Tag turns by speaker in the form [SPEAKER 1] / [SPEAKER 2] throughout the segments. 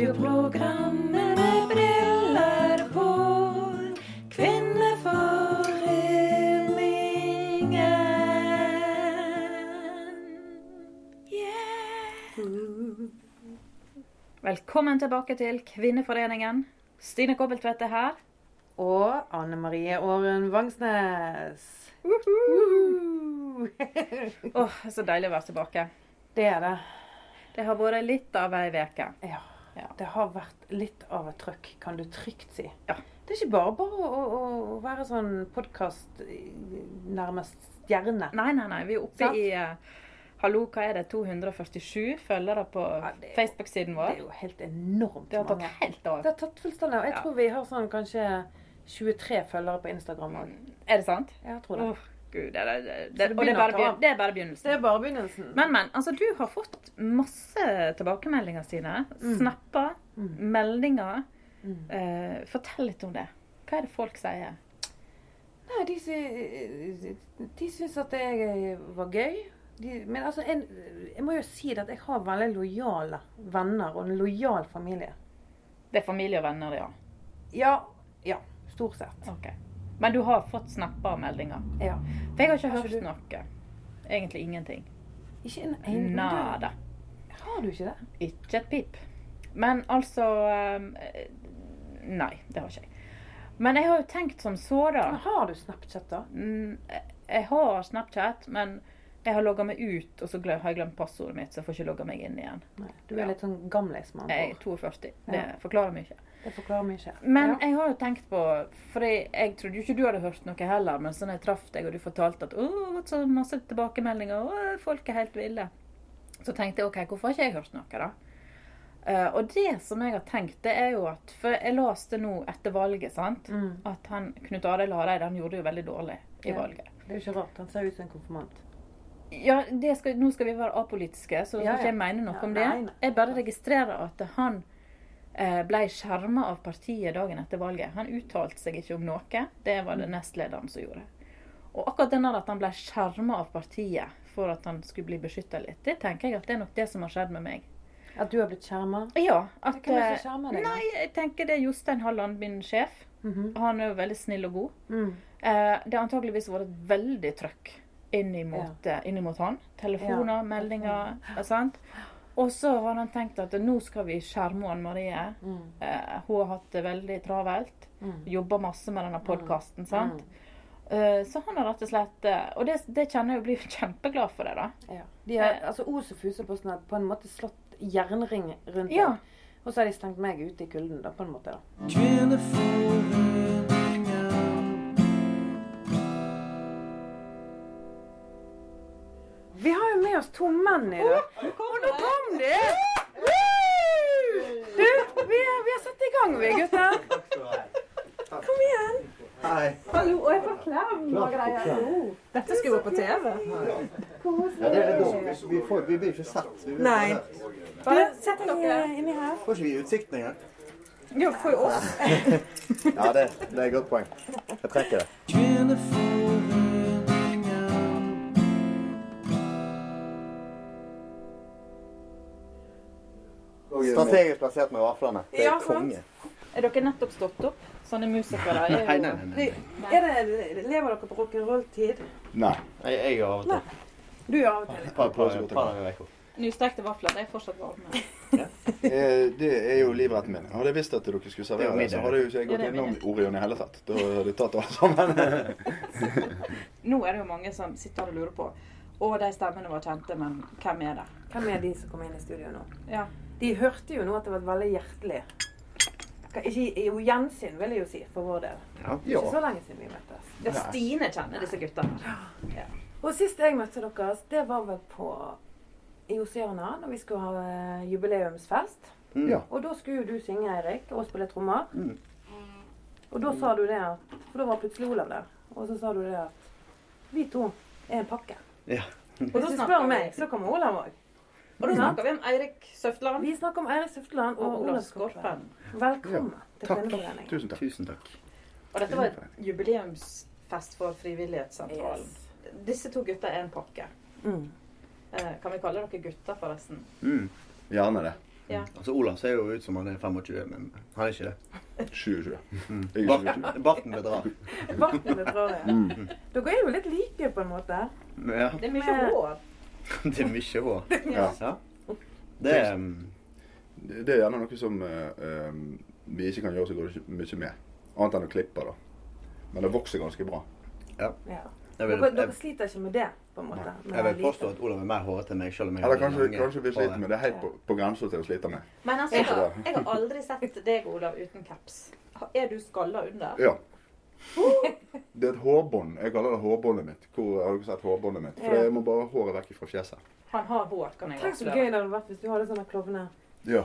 [SPEAKER 1] Radioprogrammet med briller på. Kvinneforeningen.
[SPEAKER 2] Velkommen tilbake til Kvinneforeningen. Stine Kobbeltvedt er her.
[SPEAKER 1] Og Anne Marie Åren Vangsnes.
[SPEAKER 2] Åh, Så deilig å være tilbake.
[SPEAKER 1] Det er det.
[SPEAKER 2] Det har vært litt av ei uke.
[SPEAKER 1] Ja.
[SPEAKER 2] Ja.
[SPEAKER 1] Det har vært litt av et trøkk, kan du trygt si.
[SPEAKER 2] Ja.
[SPEAKER 1] Det er ikke bare bare å, å, å være sånn podkast nærmest stjerne.
[SPEAKER 2] Nei, nei, nei. Vi er oppe
[SPEAKER 1] Sant.
[SPEAKER 2] i eh, Hallo, hva er det? 247 følgere på
[SPEAKER 1] Ja, det er jo-
[SPEAKER 2] Facebook-siden
[SPEAKER 1] Det
[SPEAKER 2] vår.
[SPEAKER 1] er jo helt enormt
[SPEAKER 2] Det har tatt
[SPEAKER 1] mange.
[SPEAKER 2] helt av.
[SPEAKER 1] Det har tatt fullstendig av. Jeg
[SPEAKER 2] Ja.
[SPEAKER 1] tror vi har sånn kanskje 23 følgere på Instagram òg.
[SPEAKER 2] Er det sant?
[SPEAKER 1] Jeg tror det.
[SPEAKER 2] Åh, Gud, det, det, det,
[SPEAKER 1] det
[SPEAKER 2] og det er, bare,
[SPEAKER 1] begynner å ta av.
[SPEAKER 2] begyn- det er bare begynnelsen.
[SPEAKER 1] Det er bare begynnelsen.
[SPEAKER 2] Men, men. Altså, du har fått masse tilbakemeldinger, Stine.
[SPEAKER 1] Mm.
[SPEAKER 2] Snapper,
[SPEAKER 1] Mm.
[SPEAKER 2] meldinger.
[SPEAKER 1] Mm.
[SPEAKER 2] Eh, fortell litt om det. Hva er det folk sier?
[SPEAKER 1] Nei, de, sy- de syns at jeg var gøy. De, men altså, en, jeg må jo si det at jeg har veldig lojale venner og en lojal familie.
[SPEAKER 2] Det er familie og venner, ja.
[SPEAKER 1] Ja. ja stort sett.
[SPEAKER 2] Ok. Men du har fått snapper og meldinger?
[SPEAKER 1] Ja.
[SPEAKER 2] For jeg har ikke
[SPEAKER 1] Har
[SPEAKER 2] hørt
[SPEAKER 1] ikke
[SPEAKER 2] noe. Egentlig ingenting.
[SPEAKER 1] Ikke en eneste
[SPEAKER 2] Nada.
[SPEAKER 1] Har du ikke det?
[SPEAKER 2] Ikke et pip. Men altså eh, Nei, det har ikke jeg. Men jeg har jo tenkt som så, da.
[SPEAKER 1] Men har du Snapchat, da?
[SPEAKER 2] Mm, jeg- Jeg har Snapchat, men jeg har logga meg ut, og så gle- har jeg glemt passordet mitt, så jeg får ikke logga meg inn igjen.
[SPEAKER 1] Nei, du
[SPEAKER 2] Ja.
[SPEAKER 1] er litt sånn gamlis med
[SPEAKER 2] Jeg er
[SPEAKER 1] andre ord.
[SPEAKER 2] 42.
[SPEAKER 1] Ja.
[SPEAKER 2] Det forklarer mye.
[SPEAKER 1] Det forklarer mye.
[SPEAKER 2] Men
[SPEAKER 1] ja.
[SPEAKER 2] jeg har jo tenkt på For jeg, jeg trodde jo ikke du hadde hørt noe heller, men så når jeg traff deg, og du fortalte at åh, det var så masse tilbakemeldinger, og øh, folk er helt ville, så tenkte jeg OK, hvorfor har ikke jeg hørt noe, da? Eh, og det som jeg har tenkt, det er jo at For jeg leste nå etter valget, sant,
[SPEAKER 1] Mm.
[SPEAKER 2] at han Knut Arild Hareide, han gjorde det jo veldig dårlig i
[SPEAKER 1] Ja.
[SPEAKER 2] valget.
[SPEAKER 1] Det er jo ikke rart. Han ser ut som en konfirmant.
[SPEAKER 2] Ja, det skal, nå skal vi være apolitiske, så jeg
[SPEAKER 1] Ja,
[SPEAKER 2] skal ikke
[SPEAKER 1] ja.
[SPEAKER 2] jeg mene noe
[SPEAKER 1] Ja,
[SPEAKER 2] om det.
[SPEAKER 1] nei, nei.
[SPEAKER 2] Jeg bare registrerer at han eh, ble skjerma av partiet dagen etter valget. Han uttalte seg ikke om noe. Det var det nestlederen som gjorde. Og akkurat den der at han ble skjerma av partiet for at han skulle bli beskytta litt, det tenker jeg at det er nok det som har skjedd med meg.
[SPEAKER 1] At du har blitt skjerma?
[SPEAKER 2] Ja, at
[SPEAKER 1] Hvem er det
[SPEAKER 2] eh,
[SPEAKER 1] som skjermer deg? da?
[SPEAKER 2] Nei, jeg tenker det er Jostein Halland, min sjef.
[SPEAKER 1] Mhm.
[SPEAKER 2] Han er jo veldig snill og god.
[SPEAKER 1] mm.
[SPEAKER 2] Eh, det har antageligvis vært et veldig trøkk innimot, eh, innimot han. Telefoner,
[SPEAKER 1] Ja,
[SPEAKER 2] meldinger. eh, sant? Og så har han tenkt at nå skal vi skjerme Anne Marie.
[SPEAKER 1] Mm.
[SPEAKER 2] Eh, hun har hatt det veldig travelt.
[SPEAKER 1] Mm.
[SPEAKER 2] Jobber masse med denne podkasten. sant?
[SPEAKER 1] Mm.
[SPEAKER 2] Eh, så han har rett og slett eh, Og det, det kjenner jeg jo blir kjempeglad for det, da.
[SPEAKER 1] Ja. De har altså, Os og Fuseposten har på en måte slått jernring rundt
[SPEAKER 2] Ja.
[SPEAKER 1] deg. Og så har de stengt meg ute i kulden, da, på en måte. da. Vi har jo med oss to menn i dag. Og nå kom de! Woo! Du, vi, er- vi har satt i gang, vi, gutter. Kom igjen.
[SPEAKER 3] Hei.
[SPEAKER 1] Hallo, og jeg får klem og greier. Dette skulle gå på TV.
[SPEAKER 3] Ja, det er det. Vi, får, vi blir ikke sett. Vi blir
[SPEAKER 4] Nei.
[SPEAKER 3] bare hørt.
[SPEAKER 1] Bare sett dere.
[SPEAKER 3] Får ikke vi utsikt engang?
[SPEAKER 1] Ja, for oss.
[SPEAKER 3] Ja, det, det er et godt poeng. Jeg trekker det. Strategisk plassert med vaflene. Det
[SPEAKER 1] Ja,
[SPEAKER 3] er
[SPEAKER 1] sant.
[SPEAKER 3] konge.
[SPEAKER 2] Er dere nettopp stått opp? Sånne musikere er jo
[SPEAKER 3] Nei, nei, nei.
[SPEAKER 1] Det- Er det, lever dere på rock'n'roll-tid?
[SPEAKER 3] Nei.
[SPEAKER 5] Nei, jeg er av og til.
[SPEAKER 1] Du er av og til.
[SPEAKER 3] Par pauser godt.
[SPEAKER 5] Par dager i uka.
[SPEAKER 2] Nystekte vafler, de er fortsatt varme.
[SPEAKER 3] Eh, Det er jo livretten min. Hadde jeg visst at dere skulle servere det, så hadde jo ikke jeg
[SPEAKER 2] Ja,
[SPEAKER 3] gått
[SPEAKER 2] det er
[SPEAKER 3] innom Orion i hele tatt. Da hadde jeg tatt alle sammen.
[SPEAKER 2] Nå er det jo mange som sitter og lurer på. Og de stemmene var kjente, men hvem er det?
[SPEAKER 1] Hvem er de som kom inn i studio nå?
[SPEAKER 2] Ja.
[SPEAKER 1] De hørte jo nå at det var veldig hjertelig. Hva- Ikke jo, gjensyn, vil jeg jo si, for vår del.
[SPEAKER 3] Ja.
[SPEAKER 1] Ikke så lenge siden vi møttes.
[SPEAKER 2] Ja, Stine kjenner disse guttene.
[SPEAKER 1] Og sist jeg møtte dere, det var vel på i Oseana, når vi skulle ha eh, jubileumsfest.
[SPEAKER 3] ja.
[SPEAKER 1] Og da skulle jo du synge, Eirik, og spille trommer.
[SPEAKER 3] Mm.
[SPEAKER 1] Og da sa du det at For da var plutselig Olav der. Og så sa du det at vi to er en pakke.
[SPEAKER 3] Ja.
[SPEAKER 2] Og
[SPEAKER 1] Hvis
[SPEAKER 2] da
[SPEAKER 1] du
[SPEAKER 2] snakker
[SPEAKER 1] spør
[SPEAKER 2] vi-
[SPEAKER 1] meg, så kommer Olav òg.
[SPEAKER 2] Og da snakker vi om Eirik Søftland
[SPEAKER 1] Vi snakker om Eirik Søfteland
[SPEAKER 2] og
[SPEAKER 1] og
[SPEAKER 2] Olav
[SPEAKER 1] Olav Skorpen.
[SPEAKER 2] Skorpen.
[SPEAKER 1] Velkommen til
[SPEAKER 3] Takk.
[SPEAKER 1] Kvinneforeningen.
[SPEAKER 3] Tusen takk.
[SPEAKER 5] Tusen takk.
[SPEAKER 2] Og dette var et jubileumsfest for Frivillighetssentralen.
[SPEAKER 1] Yes.
[SPEAKER 2] Disse to gutta er en pakke.
[SPEAKER 1] Mm.
[SPEAKER 2] Eh, Kan vi kalle dere gutter, forresten?
[SPEAKER 3] Mm. Gjerne det.
[SPEAKER 6] Ja.
[SPEAKER 3] Altså, Olav ser jo ut som han er 25, men han er ikke det.
[SPEAKER 5] 27.
[SPEAKER 3] Mm.
[SPEAKER 5] Jeg er 27.
[SPEAKER 3] Barten, barten bedrar.
[SPEAKER 1] Barten bedrar det.
[SPEAKER 5] Mm.
[SPEAKER 1] Dere er jo litt like, på en måte.
[SPEAKER 3] Ja,
[SPEAKER 2] Det er mye
[SPEAKER 1] Men-
[SPEAKER 2] hår.
[SPEAKER 3] det er mye hår.
[SPEAKER 5] Ja.
[SPEAKER 3] Ja. Det er mm,
[SPEAKER 5] Det det er gjerne noe som eh, eh, vi ikke kan gjøre så godt- mye med. Annet enn å klippe, da. Men det vokser ganske bra.
[SPEAKER 1] Ja.
[SPEAKER 3] Jeg vil,
[SPEAKER 1] Dere, dere
[SPEAKER 3] jeg,
[SPEAKER 1] sliter ikke med det, på en måte. med å
[SPEAKER 3] jeg vil
[SPEAKER 1] være
[SPEAKER 3] påstå at Olav er mer hårete enn meg, selv om jeg
[SPEAKER 5] Eller
[SPEAKER 3] har
[SPEAKER 5] kanskje,
[SPEAKER 3] lange
[SPEAKER 5] kanskje vi
[SPEAKER 3] hår.
[SPEAKER 5] sliter med det helt på, på grensa til å slite med.
[SPEAKER 2] Men altså,
[SPEAKER 5] Ja.
[SPEAKER 2] jeg har, jeg har aldri sett deg, Olav, uten caps. Er du skalla under?
[SPEAKER 5] Ja. Det er et hårbånd. Jeg kaller det hårbåndet mitt. Hvor har dere sett hårbåndet mitt? For
[SPEAKER 1] Ja.
[SPEAKER 5] jeg må bare ha håret vekk fra fjeset.
[SPEAKER 2] Han har hår, kan jeg
[SPEAKER 1] Tenk så gøy
[SPEAKER 2] avsløre.
[SPEAKER 1] det hadde vært hvis du hadde sånne klovner.
[SPEAKER 5] Ja.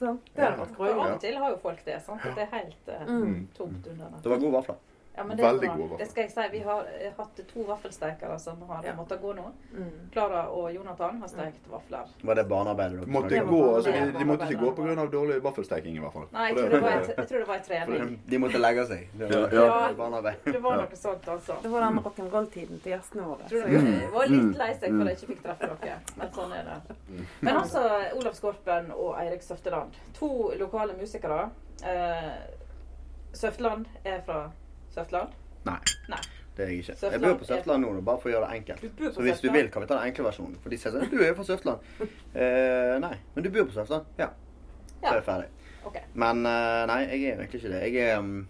[SPEAKER 1] Sånn. Det hadde
[SPEAKER 5] Ja.
[SPEAKER 1] vært
[SPEAKER 2] For
[SPEAKER 1] gøy.
[SPEAKER 2] av og til har jo folk det. sant? At Det er helt eh,
[SPEAKER 1] Mm.
[SPEAKER 5] Mm.
[SPEAKER 2] tomt under det.
[SPEAKER 3] Det var gode vafler.
[SPEAKER 2] Ja, men det er
[SPEAKER 5] Veldig
[SPEAKER 2] bra.
[SPEAKER 5] gode vafler.
[SPEAKER 2] Det skal jeg si. Vi har eh, hatt to vaffelstekere som har
[SPEAKER 1] Ja.
[SPEAKER 2] måttet gå nå.
[SPEAKER 1] Mm. Klara.
[SPEAKER 2] Klara og Jonathan har stekt vafler.
[SPEAKER 3] Var det barnearbeidet dere
[SPEAKER 5] Måtte
[SPEAKER 3] snakket om?
[SPEAKER 5] gå, altså, de, de måtte ikke gå pga. dårlig vaffelsteking, i hvert fall.
[SPEAKER 2] Nei, jeg
[SPEAKER 5] For
[SPEAKER 2] tror det var, i- jeg tror det var i
[SPEAKER 3] For
[SPEAKER 2] trening.
[SPEAKER 3] de, de måtte legge seg. Det var
[SPEAKER 5] Ja,
[SPEAKER 2] ja.
[SPEAKER 3] barnearbeid.
[SPEAKER 2] Det var noe sånt, altså.
[SPEAKER 1] Det var den rock'n'roll-tiden til gjestene våre.
[SPEAKER 2] Jeg tror nok jeg var litt lei seg for at jeg ikke fikk treffe dere. Men sånn er det.
[SPEAKER 3] Mm.
[SPEAKER 2] Men altså Olav Skorpen og Eirik Søfteland. To lokale musikere. Eh, Søfteland er fra Søfteland.
[SPEAKER 3] Nei.
[SPEAKER 2] Nei.
[SPEAKER 3] Det er jeg ikke. Jeg
[SPEAKER 2] Søfteland
[SPEAKER 3] bor på
[SPEAKER 2] er-
[SPEAKER 3] Søfteland nå, bare for å gjøre det
[SPEAKER 2] Du
[SPEAKER 3] enkelt.
[SPEAKER 2] bor på
[SPEAKER 3] Så hvis du
[SPEAKER 2] Søfteland.
[SPEAKER 3] vil, kan vi ta den enkle versjonen. For de sier sånn Du er jo fra Søfteland. Eh, nei. Men du bor på Søfteland? Ja. Så
[SPEAKER 2] Ja.
[SPEAKER 3] er jeg ferdig.
[SPEAKER 2] Ok.
[SPEAKER 3] Men eh, nei, jeg er egentlig ikke det. Jeg er, mm,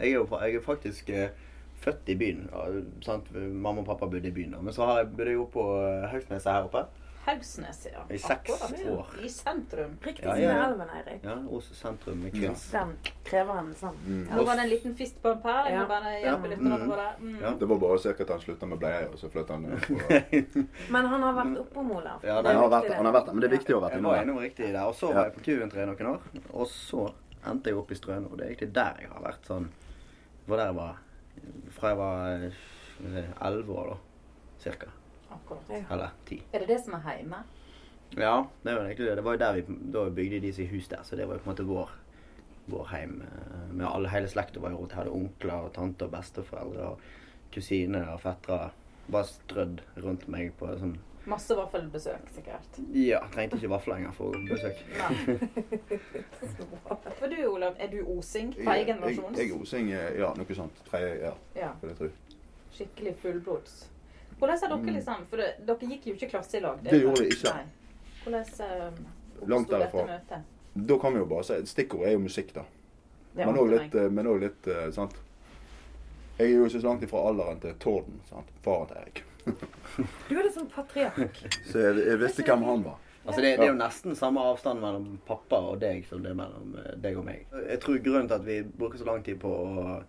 [SPEAKER 3] jeg er jo fra- jeg er faktisk eh, født i byen. Ja, sant? Mamma og pappa bodde i byen, da. Men så har jeg, bodde jeg jo på eh, Haugsneset her oppe.
[SPEAKER 2] Haugsnes, ja.
[SPEAKER 3] I seks
[SPEAKER 2] Akkurat.
[SPEAKER 3] år.
[SPEAKER 2] I sentrum.
[SPEAKER 1] Riktig
[SPEAKER 3] Ja,
[SPEAKER 1] ja,
[SPEAKER 3] ja, ja.
[SPEAKER 1] elven, Eirik.
[SPEAKER 3] Ja, Os sentrum med kvinns.
[SPEAKER 1] Den krever en sånn.
[SPEAKER 2] Nå var det en liten fistbump her. Jeg
[SPEAKER 1] Ja.
[SPEAKER 2] må bare
[SPEAKER 3] Ja.
[SPEAKER 2] hjelpe litt. med det bare.
[SPEAKER 3] Ja.
[SPEAKER 2] Mm.
[SPEAKER 5] Det var bare sikkert at han slutta med bleier, og så flytta han ned. på-
[SPEAKER 1] Men han har vært oppom Olav.
[SPEAKER 3] Ja,
[SPEAKER 5] Nei,
[SPEAKER 3] det
[SPEAKER 5] han har vært der, han har vært der, men det er viktig å ha vært
[SPEAKER 3] Jeg
[SPEAKER 5] innom
[SPEAKER 3] var
[SPEAKER 5] der.
[SPEAKER 3] innom riktig der, og så var jeg på Kuventre noen år. Og så endte jeg opp i Strøne, og det er egentlig der jeg har vært sånn Det var der jeg var fra jeg var elleve år, da. Cirka.
[SPEAKER 2] Akkurat.
[SPEAKER 1] Ja.
[SPEAKER 3] Eller ti.
[SPEAKER 2] Er det det som er heime?
[SPEAKER 3] Ja, det var egentlig det. Det var jo der vi da bygde de sitt hus der, så det var jo på en måte vår vår heim eh, med alle, hele slekta var jo rundt. Jeg hadde onkler og tanter og besteforeldre og kusiner og fettere bare strødd rundt meg på sånn
[SPEAKER 2] Masse vaffelbesøk, sikkert.
[SPEAKER 3] Ja, trengte ikke vafler lenger for å besøke.
[SPEAKER 2] Nei. For du, Olav, er du osing fra
[SPEAKER 5] Jeg,
[SPEAKER 2] egen
[SPEAKER 5] jeg,
[SPEAKER 2] versjons?
[SPEAKER 5] jeg osing, ja, noe sånt. Tredje, ja,
[SPEAKER 2] Ja,
[SPEAKER 5] vil jeg tro.
[SPEAKER 2] skikkelig fullblods. Hvordan er dere liksom For det- dere gikk jo ikke klasse i lag.
[SPEAKER 5] Mm. Det gjorde vi ikke.
[SPEAKER 2] Nei. Hvordan um,
[SPEAKER 5] Langt
[SPEAKER 2] oppsto dette
[SPEAKER 5] derifra.
[SPEAKER 2] møtet?
[SPEAKER 5] Da kan vi jo bare si Stikkord er jo musikk, da.
[SPEAKER 2] Det
[SPEAKER 5] Men
[SPEAKER 2] ante
[SPEAKER 5] òg
[SPEAKER 2] meg.
[SPEAKER 5] litt, eh, men også litt eh, sant? Jeg er jo ikke så langt ifra alderen til Torden, sant? faren til Erik.
[SPEAKER 1] Du er litt sånn patriark.
[SPEAKER 5] Så jeg, jeg visste hvem han var.
[SPEAKER 3] Altså det, det er jo nesten samme avstand mellom pappa og deg som det er mellom eh, deg og meg. Jeg tror grunnen til at vi bruker så lang tid på å,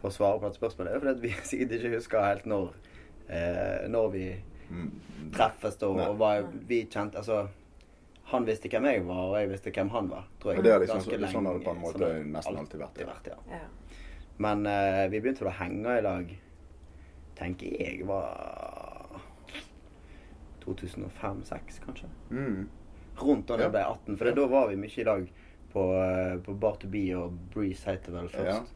[SPEAKER 3] på å svare på dette spørsmålet, er fordi at vi sikkert ikke husker helt når, eh, når vi
[SPEAKER 5] Mm.
[SPEAKER 3] treffes og,
[SPEAKER 5] Nei.
[SPEAKER 3] og hva vi kjente Altså, han visste hvem jeg var, og jeg visste hvem han var. Tror jeg.
[SPEAKER 5] Og det er liksom
[SPEAKER 3] Ganske
[SPEAKER 5] så- sånn
[SPEAKER 3] lenge.
[SPEAKER 5] har det på en måte
[SPEAKER 3] Sånn har det
[SPEAKER 5] nesten alltid vært, ja.
[SPEAKER 3] vært ja.
[SPEAKER 1] Ja.
[SPEAKER 3] Men eh, vi begynte vel å henge i lag Tenker jeg var 2005-2006, kanskje.
[SPEAKER 5] Mm.
[SPEAKER 3] Rundt da
[SPEAKER 5] Ja.
[SPEAKER 3] jeg ble 18, for da var vi mye i lag på, eh, på Bar to Be og Breeze het det vel først.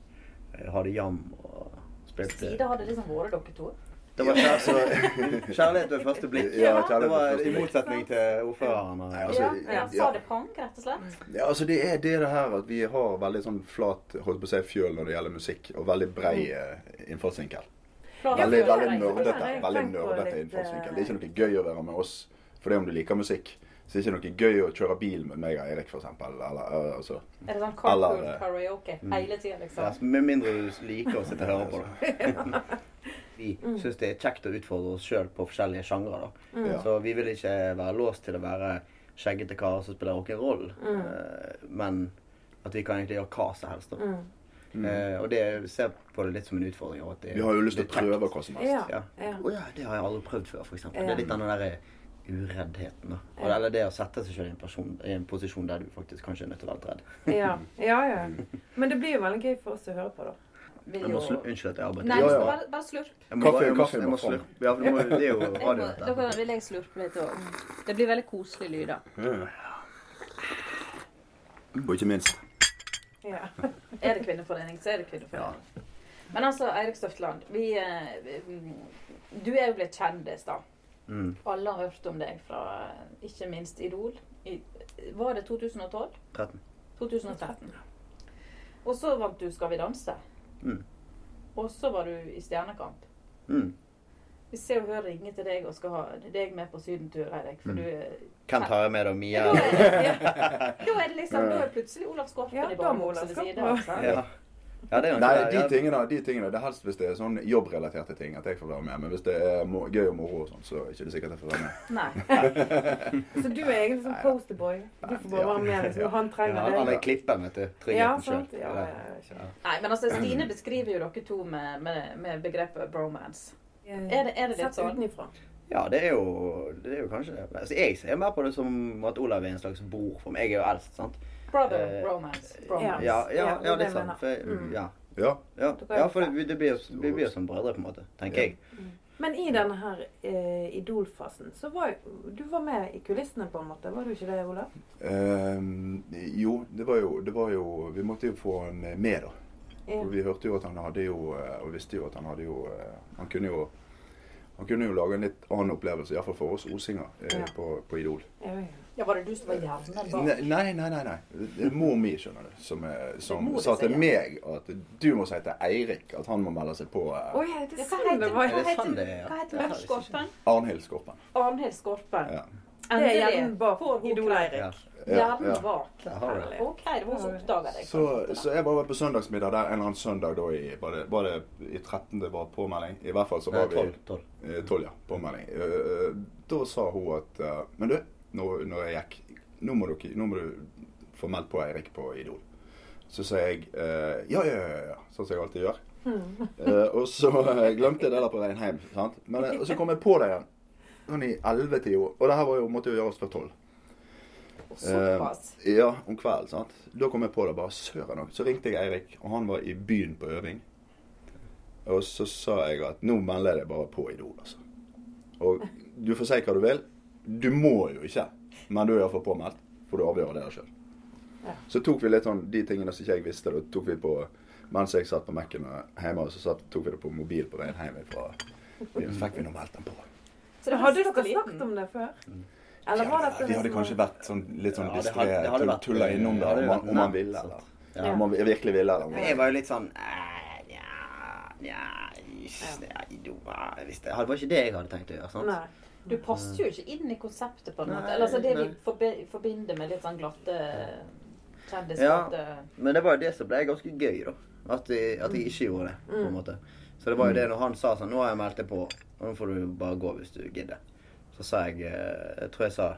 [SPEAKER 3] Eh, Hadde jam og
[SPEAKER 2] Sida
[SPEAKER 3] spilte
[SPEAKER 2] hadde liksom vært dere to.
[SPEAKER 3] Det var kjærlighet, kjærlighet ved første blikk.
[SPEAKER 5] Ja, kjærlighet
[SPEAKER 3] det var
[SPEAKER 5] ved
[SPEAKER 3] i
[SPEAKER 5] første blikk.
[SPEAKER 3] motsetning til ordføreren. Og,
[SPEAKER 5] Nei, altså,
[SPEAKER 2] Ja,
[SPEAKER 5] ja,
[SPEAKER 2] ja.
[SPEAKER 5] ja.
[SPEAKER 2] Sa det pang, rett og slett?
[SPEAKER 5] Ja, altså Det er det, det her at vi har veldig sånn flat holdt på å si, fjøl når det gjelder musikk, og veldig brei
[SPEAKER 1] Mm.
[SPEAKER 5] eh, innfallsvinkel.
[SPEAKER 2] Fra-
[SPEAKER 5] Veldig,
[SPEAKER 1] for det er- for
[SPEAKER 5] veldig
[SPEAKER 1] det er-
[SPEAKER 5] nerdete
[SPEAKER 1] jeg
[SPEAKER 5] veldig
[SPEAKER 1] tenker på
[SPEAKER 5] nerdete
[SPEAKER 1] litt,
[SPEAKER 5] innfallsvinkel.
[SPEAKER 1] eh,
[SPEAKER 5] Det er ikke noe gøy å være med oss for det om du liker musikk. Så det er ikke noe gøy å kjøre bil med meg og Erik, for eksempel. Eller, eh, altså.
[SPEAKER 2] Er det sånn
[SPEAKER 5] Eller,
[SPEAKER 2] carpool
[SPEAKER 5] eh,
[SPEAKER 2] karaoke hele tida,
[SPEAKER 3] Ja,
[SPEAKER 2] liksom?
[SPEAKER 3] så med mindre du liker å sitte og høre på det. Vi syns det er kjekt å utfordre oss sjøl på forskjellige sjangre. da.
[SPEAKER 5] Ja.
[SPEAKER 3] Så vi vil ikke være låst til å være skjeggete karer som spiller rock'n'roll, eh, men at vi kan egentlig gjøre hva som helst. da.
[SPEAKER 1] Mm.
[SPEAKER 3] Eh, og det ser på det litt som en utfordring. og At det,
[SPEAKER 5] Vi har jo lyst til å
[SPEAKER 3] det er kjekt.
[SPEAKER 5] prøve hva som helst.
[SPEAKER 1] Ja.
[SPEAKER 3] Ja.
[SPEAKER 1] Ja.
[SPEAKER 3] Å ja, det har jeg aldri prøvd før, f.eks. Det
[SPEAKER 1] Ja.
[SPEAKER 3] er litt den derre ureddheten. da. Og,
[SPEAKER 1] Ja.
[SPEAKER 3] Eller det å sette seg sjøl i, en person- i en posisjon der du faktisk kanskje er nødt til å være litt redd.
[SPEAKER 1] Ja. ja, ja. Men det blir jo veldig gøy for oss å høre på, da.
[SPEAKER 2] Vil
[SPEAKER 3] Jeg må slu,
[SPEAKER 2] jo
[SPEAKER 3] unnskyld at jeg avbryter.
[SPEAKER 2] Nei,
[SPEAKER 5] Ja, ja.
[SPEAKER 2] bare, bare slurp.
[SPEAKER 3] Jeg må,
[SPEAKER 5] Kaffe-
[SPEAKER 3] bare- jeg må,
[SPEAKER 5] kaffe
[SPEAKER 3] jeg må
[SPEAKER 5] må fram.
[SPEAKER 3] slurpe. Ja, for det, må, det er jo
[SPEAKER 2] Jeg
[SPEAKER 3] radio,
[SPEAKER 2] må,
[SPEAKER 3] dette.
[SPEAKER 2] dere vil jeg slurpe litt òg. Det blir veldig koselige lyder.
[SPEAKER 5] Og ikke minst.
[SPEAKER 1] Ja.
[SPEAKER 2] Er det kvinneforening, så er det kvinneforening. Men altså, Eirik Støftland, vi, eh, vi- du er jo blitt kjendis, da.
[SPEAKER 3] Mm.
[SPEAKER 2] Alle har hørt om deg fra eh, ikke minst Idol. I, Var det 2012?
[SPEAKER 3] 13.
[SPEAKER 2] 2013. Og så vant du Skal vi danse.
[SPEAKER 3] Mm.
[SPEAKER 2] Og så var du i Stjernekamp.
[SPEAKER 3] Mm.
[SPEAKER 2] Vi ser og hører ringer til deg og skal ha deg med på sydentur, Eirik. For du er
[SPEAKER 3] Hvem tar jeg med, da? Mia?
[SPEAKER 2] da er, det, ja. da er det liksom, da er plutselig Olav Skorpen
[SPEAKER 1] Ja,
[SPEAKER 2] i
[SPEAKER 1] da må
[SPEAKER 2] barnebuksa
[SPEAKER 1] Olav
[SPEAKER 2] ved
[SPEAKER 1] Skorpen
[SPEAKER 2] siden
[SPEAKER 1] være.
[SPEAKER 2] av. sant?
[SPEAKER 3] Ja. Ja, det er jo en
[SPEAKER 5] Nei,
[SPEAKER 3] svær-
[SPEAKER 5] de
[SPEAKER 3] ja.
[SPEAKER 5] tingene, de tingene, det er helst hvis det er sånn jobbrelaterte ting at jeg får være med. Men hvis det er mo gøy og moro og sånn, så er det ikke sikkert jeg får være med.
[SPEAKER 2] Nei.
[SPEAKER 1] Så du er egentlig sånn posterboy. Du får bare være med liksom, når han
[SPEAKER 3] Ja,
[SPEAKER 1] trenger
[SPEAKER 3] han
[SPEAKER 1] deg.
[SPEAKER 3] er klippen, vet du.
[SPEAKER 1] Ja,
[SPEAKER 3] Tryggheten
[SPEAKER 1] sant?
[SPEAKER 3] selv.
[SPEAKER 1] Ja,
[SPEAKER 3] Ja.
[SPEAKER 1] ja, ja.
[SPEAKER 2] Nei, men altså, Stine
[SPEAKER 3] Mm.
[SPEAKER 2] beskriver jo dere to med, med, med begrepet bromance. Er det- er det litt
[SPEAKER 1] Eh, Sett
[SPEAKER 2] sånn?
[SPEAKER 1] utenifra.
[SPEAKER 3] Ja, det er jo, det er jo kanskje det. Altså, jeg ser mer på det som at Olav er en slags bror for meg. Jeg er jo eldst, sant.
[SPEAKER 2] Brother
[SPEAKER 3] Eh,
[SPEAKER 2] romance.
[SPEAKER 3] Ja,
[SPEAKER 2] bromance.
[SPEAKER 3] ja,
[SPEAKER 1] Ja, det
[SPEAKER 3] ja
[SPEAKER 1] er det
[SPEAKER 3] litt
[SPEAKER 1] jeg
[SPEAKER 3] sånn.
[SPEAKER 1] mener.
[SPEAKER 3] For, jeg-
[SPEAKER 1] Mm.
[SPEAKER 3] ja,
[SPEAKER 5] Ja.
[SPEAKER 3] ja,
[SPEAKER 1] Dere er
[SPEAKER 3] ja,
[SPEAKER 1] jo
[SPEAKER 3] for
[SPEAKER 1] fra-
[SPEAKER 3] vi, det blir, vi blir jo som brødre, på en måte, tenker
[SPEAKER 5] Ja.
[SPEAKER 3] jeg.
[SPEAKER 2] Mm.
[SPEAKER 1] Men i denne her eh, idolfasen, så var jo- du var med i kulissene, på en måte. Var du ikke det, Olav?
[SPEAKER 5] Ehm, jo, det var jo, det var jo Vi måtte jo få han med, da.
[SPEAKER 1] Ja.
[SPEAKER 5] Og vi hørte jo at han hadde jo eh, Og visste jo at han hadde jo eh, Han kunne jo han kunne jo lage en litt annen opplevelse, iallfall for oss osinger, eh,
[SPEAKER 1] Ja.
[SPEAKER 5] på, på Idol.
[SPEAKER 1] Ja, ja.
[SPEAKER 2] Ja, var det du som var jevnen bak?
[SPEAKER 5] Ne- Nei, nei, nei. nei. Det er mor mi, skjønner du, som, eh, som
[SPEAKER 2] Det er mor
[SPEAKER 5] sa
[SPEAKER 2] som
[SPEAKER 5] til
[SPEAKER 2] sier.
[SPEAKER 5] meg at du må si til Eirik at han må melde seg på eh,
[SPEAKER 1] Oi, er det
[SPEAKER 2] Ja,
[SPEAKER 1] er
[SPEAKER 2] Hva
[SPEAKER 1] sånn det var.
[SPEAKER 3] Er det
[SPEAKER 2] heter, hva
[SPEAKER 3] sånn
[SPEAKER 2] heter,
[SPEAKER 3] det er, ja?
[SPEAKER 2] hva
[SPEAKER 3] Ja,
[SPEAKER 2] heter
[SPEAKER 3] det
[SPEAKER 2] hun?
[SPEAKER 3] visste jeg
[SPEAKER 2] Skorpen?
[SPEAKER 5] Arnhild Skorpen.
[SPEAKER 2] Arnhild Skorpen.
[SPEAKER 5] Ja.
[SPEAKER 1] Det er
[SPEAKER 2] Endelig
[SPEAKER 1] hjernen bak
[SPEAKER 2] får hun
[SPEAKER 1] Idol
[SPEAKER 2] kred.
[SPEAKER 3] Ja.
[SPEAKER 1] Eirik.
[SPEAKER 2] Hjernen bak.
[SPEAKER 3] Der har du det.
[SPEAKER 2] OK, det var hun som oppdaga deg.
[SPEAKER 5] Så, så jeg bare var på søndagsmiddag der en eller annen søndag da i Var det, var det i 13. det var påmelding? I hvert fall så var
[SPEAKER 3] Nei,
[SPEAKER 5] vi
[SPEAKER 3] tolv. tolv.
[SPEAKER 5] eh, 12, ja. Påmelding. Eh, eh, Da sa hun at eh, Men du, når, når jeg gikk nå må, dere, nå må du få meldt på Eirik på Idol. Så sa jeg eh, ja, ja, ja, ja. Sånn som jeg alltid gjør.
[SPEAKER 1] Hmm.
[SPEAKER 5] Eh, og så eh, glemte jeg det der på veien hjem. Sant? Men, eh, og så kom jeg på det igjen. Sånn i 11 til jo. Og det her var jo, måtte jo gjøres før 12.
[SPEAKER 2] Såpass.
[SPEAKER 5] Eh, ja, om kvelden. sant? Da kom jeg på det. bare, søren også. Så ringte jeg Eirik, og han var i byen på øving. Og så sa jeg at nå melder jeg deg bare på Idol, altså. Og du får si hva du vil. Du må jo ikke, men du er iallfall påmeldt. For du avgjør det sjøl.
[SPEAKER 1] Ja.
[SPEAKER 5] Så tok vi litt sånn de tingene som ikke jeg visste, da tok vi på mens jeg satt på Mac-en og hjemme, og så satt, tok vi det på mobil på veien hjem fra byen. Så fikk vi nå meldt den på.
[SPEAKER 2] Så det var
[SPEAKER 1] Hadde
[SPEAKER 2] siste
[SPEAKER 1] dere
[SPEAKER 2] liten.
[SPEAKER 1] snakket om det før?
[SPEAKER 3] Mm.
[SPEAKER 1] Eller var dette
[SPEAKER 5] vi hadde kanskje vært sånn, litt sånn
[SPEAKER 3] Ja, det hadde-
[SPEAKER 5] distré,
[SPEAKER 3] det hadde vært-
[SPEAKER 5] tulla innom
[SPEAKER 3] det
[SPEAKER 5] det
[SPEAKER 3] hadde
[SPEAKER 5] om
[SPEAKER 3] vært
[SPEAKER 5] man, om man
[SPEAKER 3] nevnt,
[SPEAKER 5] ville.
[SPEAKER 3] sant.
[SPEAKER 5] Eller.
[SPEAKER 3] Ja.
[SPEAKER 5] Om man virkelig ville. Eller. om
[SPEAKER 3] Men
[SPEAKER 5] man-
[SPEAKER 3] Jeg var jo litt sånn eh, Nja, nja ish, nja, jo, eh, hvis Det det var ikke det jeg hadde tenkt å gjøre. sant?
[SPEAKER 1] Nei.
[SPEAKER 2] Du passer jo ikke inn i konseptet, på en måte.
[SPEAKER 3] Nei,
[SPEAKER 2] Eller altså det vi
[SPEAKER 3] nei.
[SPEAKER 2] forbi- forbinder med litt sånn glatte kjendisglatte
[SPEAKER 3] Men det var jo det som ble ganske gøy, da. At jeg, at
[SPEAKER 1] Mm.
[SPEAKER 3] jeg ikke gjorde det. på en måte. Så det
[SPEAKER 5] Mm.
[SPEAKER 3] var jo det når han sa sånn Nå har jeg meldt deg på, og nå får du bare gå hvis du gidder. Så sa jeg eh, Jeg tror jeg sa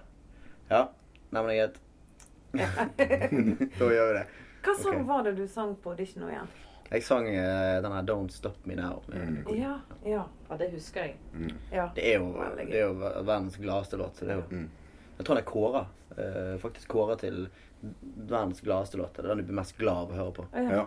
[SPEAKER 3] Ja, nemlig greit. da gjør vi det.
[SPEAKER 1] Hva sang
[SPEAKER 3] Ok.
[SPEAKER 1] var det du sang på audition nå igjen?
[SPEAKER 3] Jeg sang eh, den her Don't Stop Me Now. med
[SPEAKER 5] Mm.
[SPEAKER 3] Queen.
[SPEAKER 1] Ja, ja,
[SPEAKER 2] Ja, det husker jeg.
[SPEAKER 1] ja.
[SPEAKER 3] Det er jo,
[SPEAKER 1] Veldig gøy.
[SPEAKER 3] det er jo ver- verdens gladeste låt. Så det er jo,
[SPEAKER 5] Mm.
[SPEAKER 3] Jeg tror den er kåra. eh, faktisk kåra til verdens gladeste låt. Det er den du blir mest glad av å høre på.
[SPEAKER 5] Ja.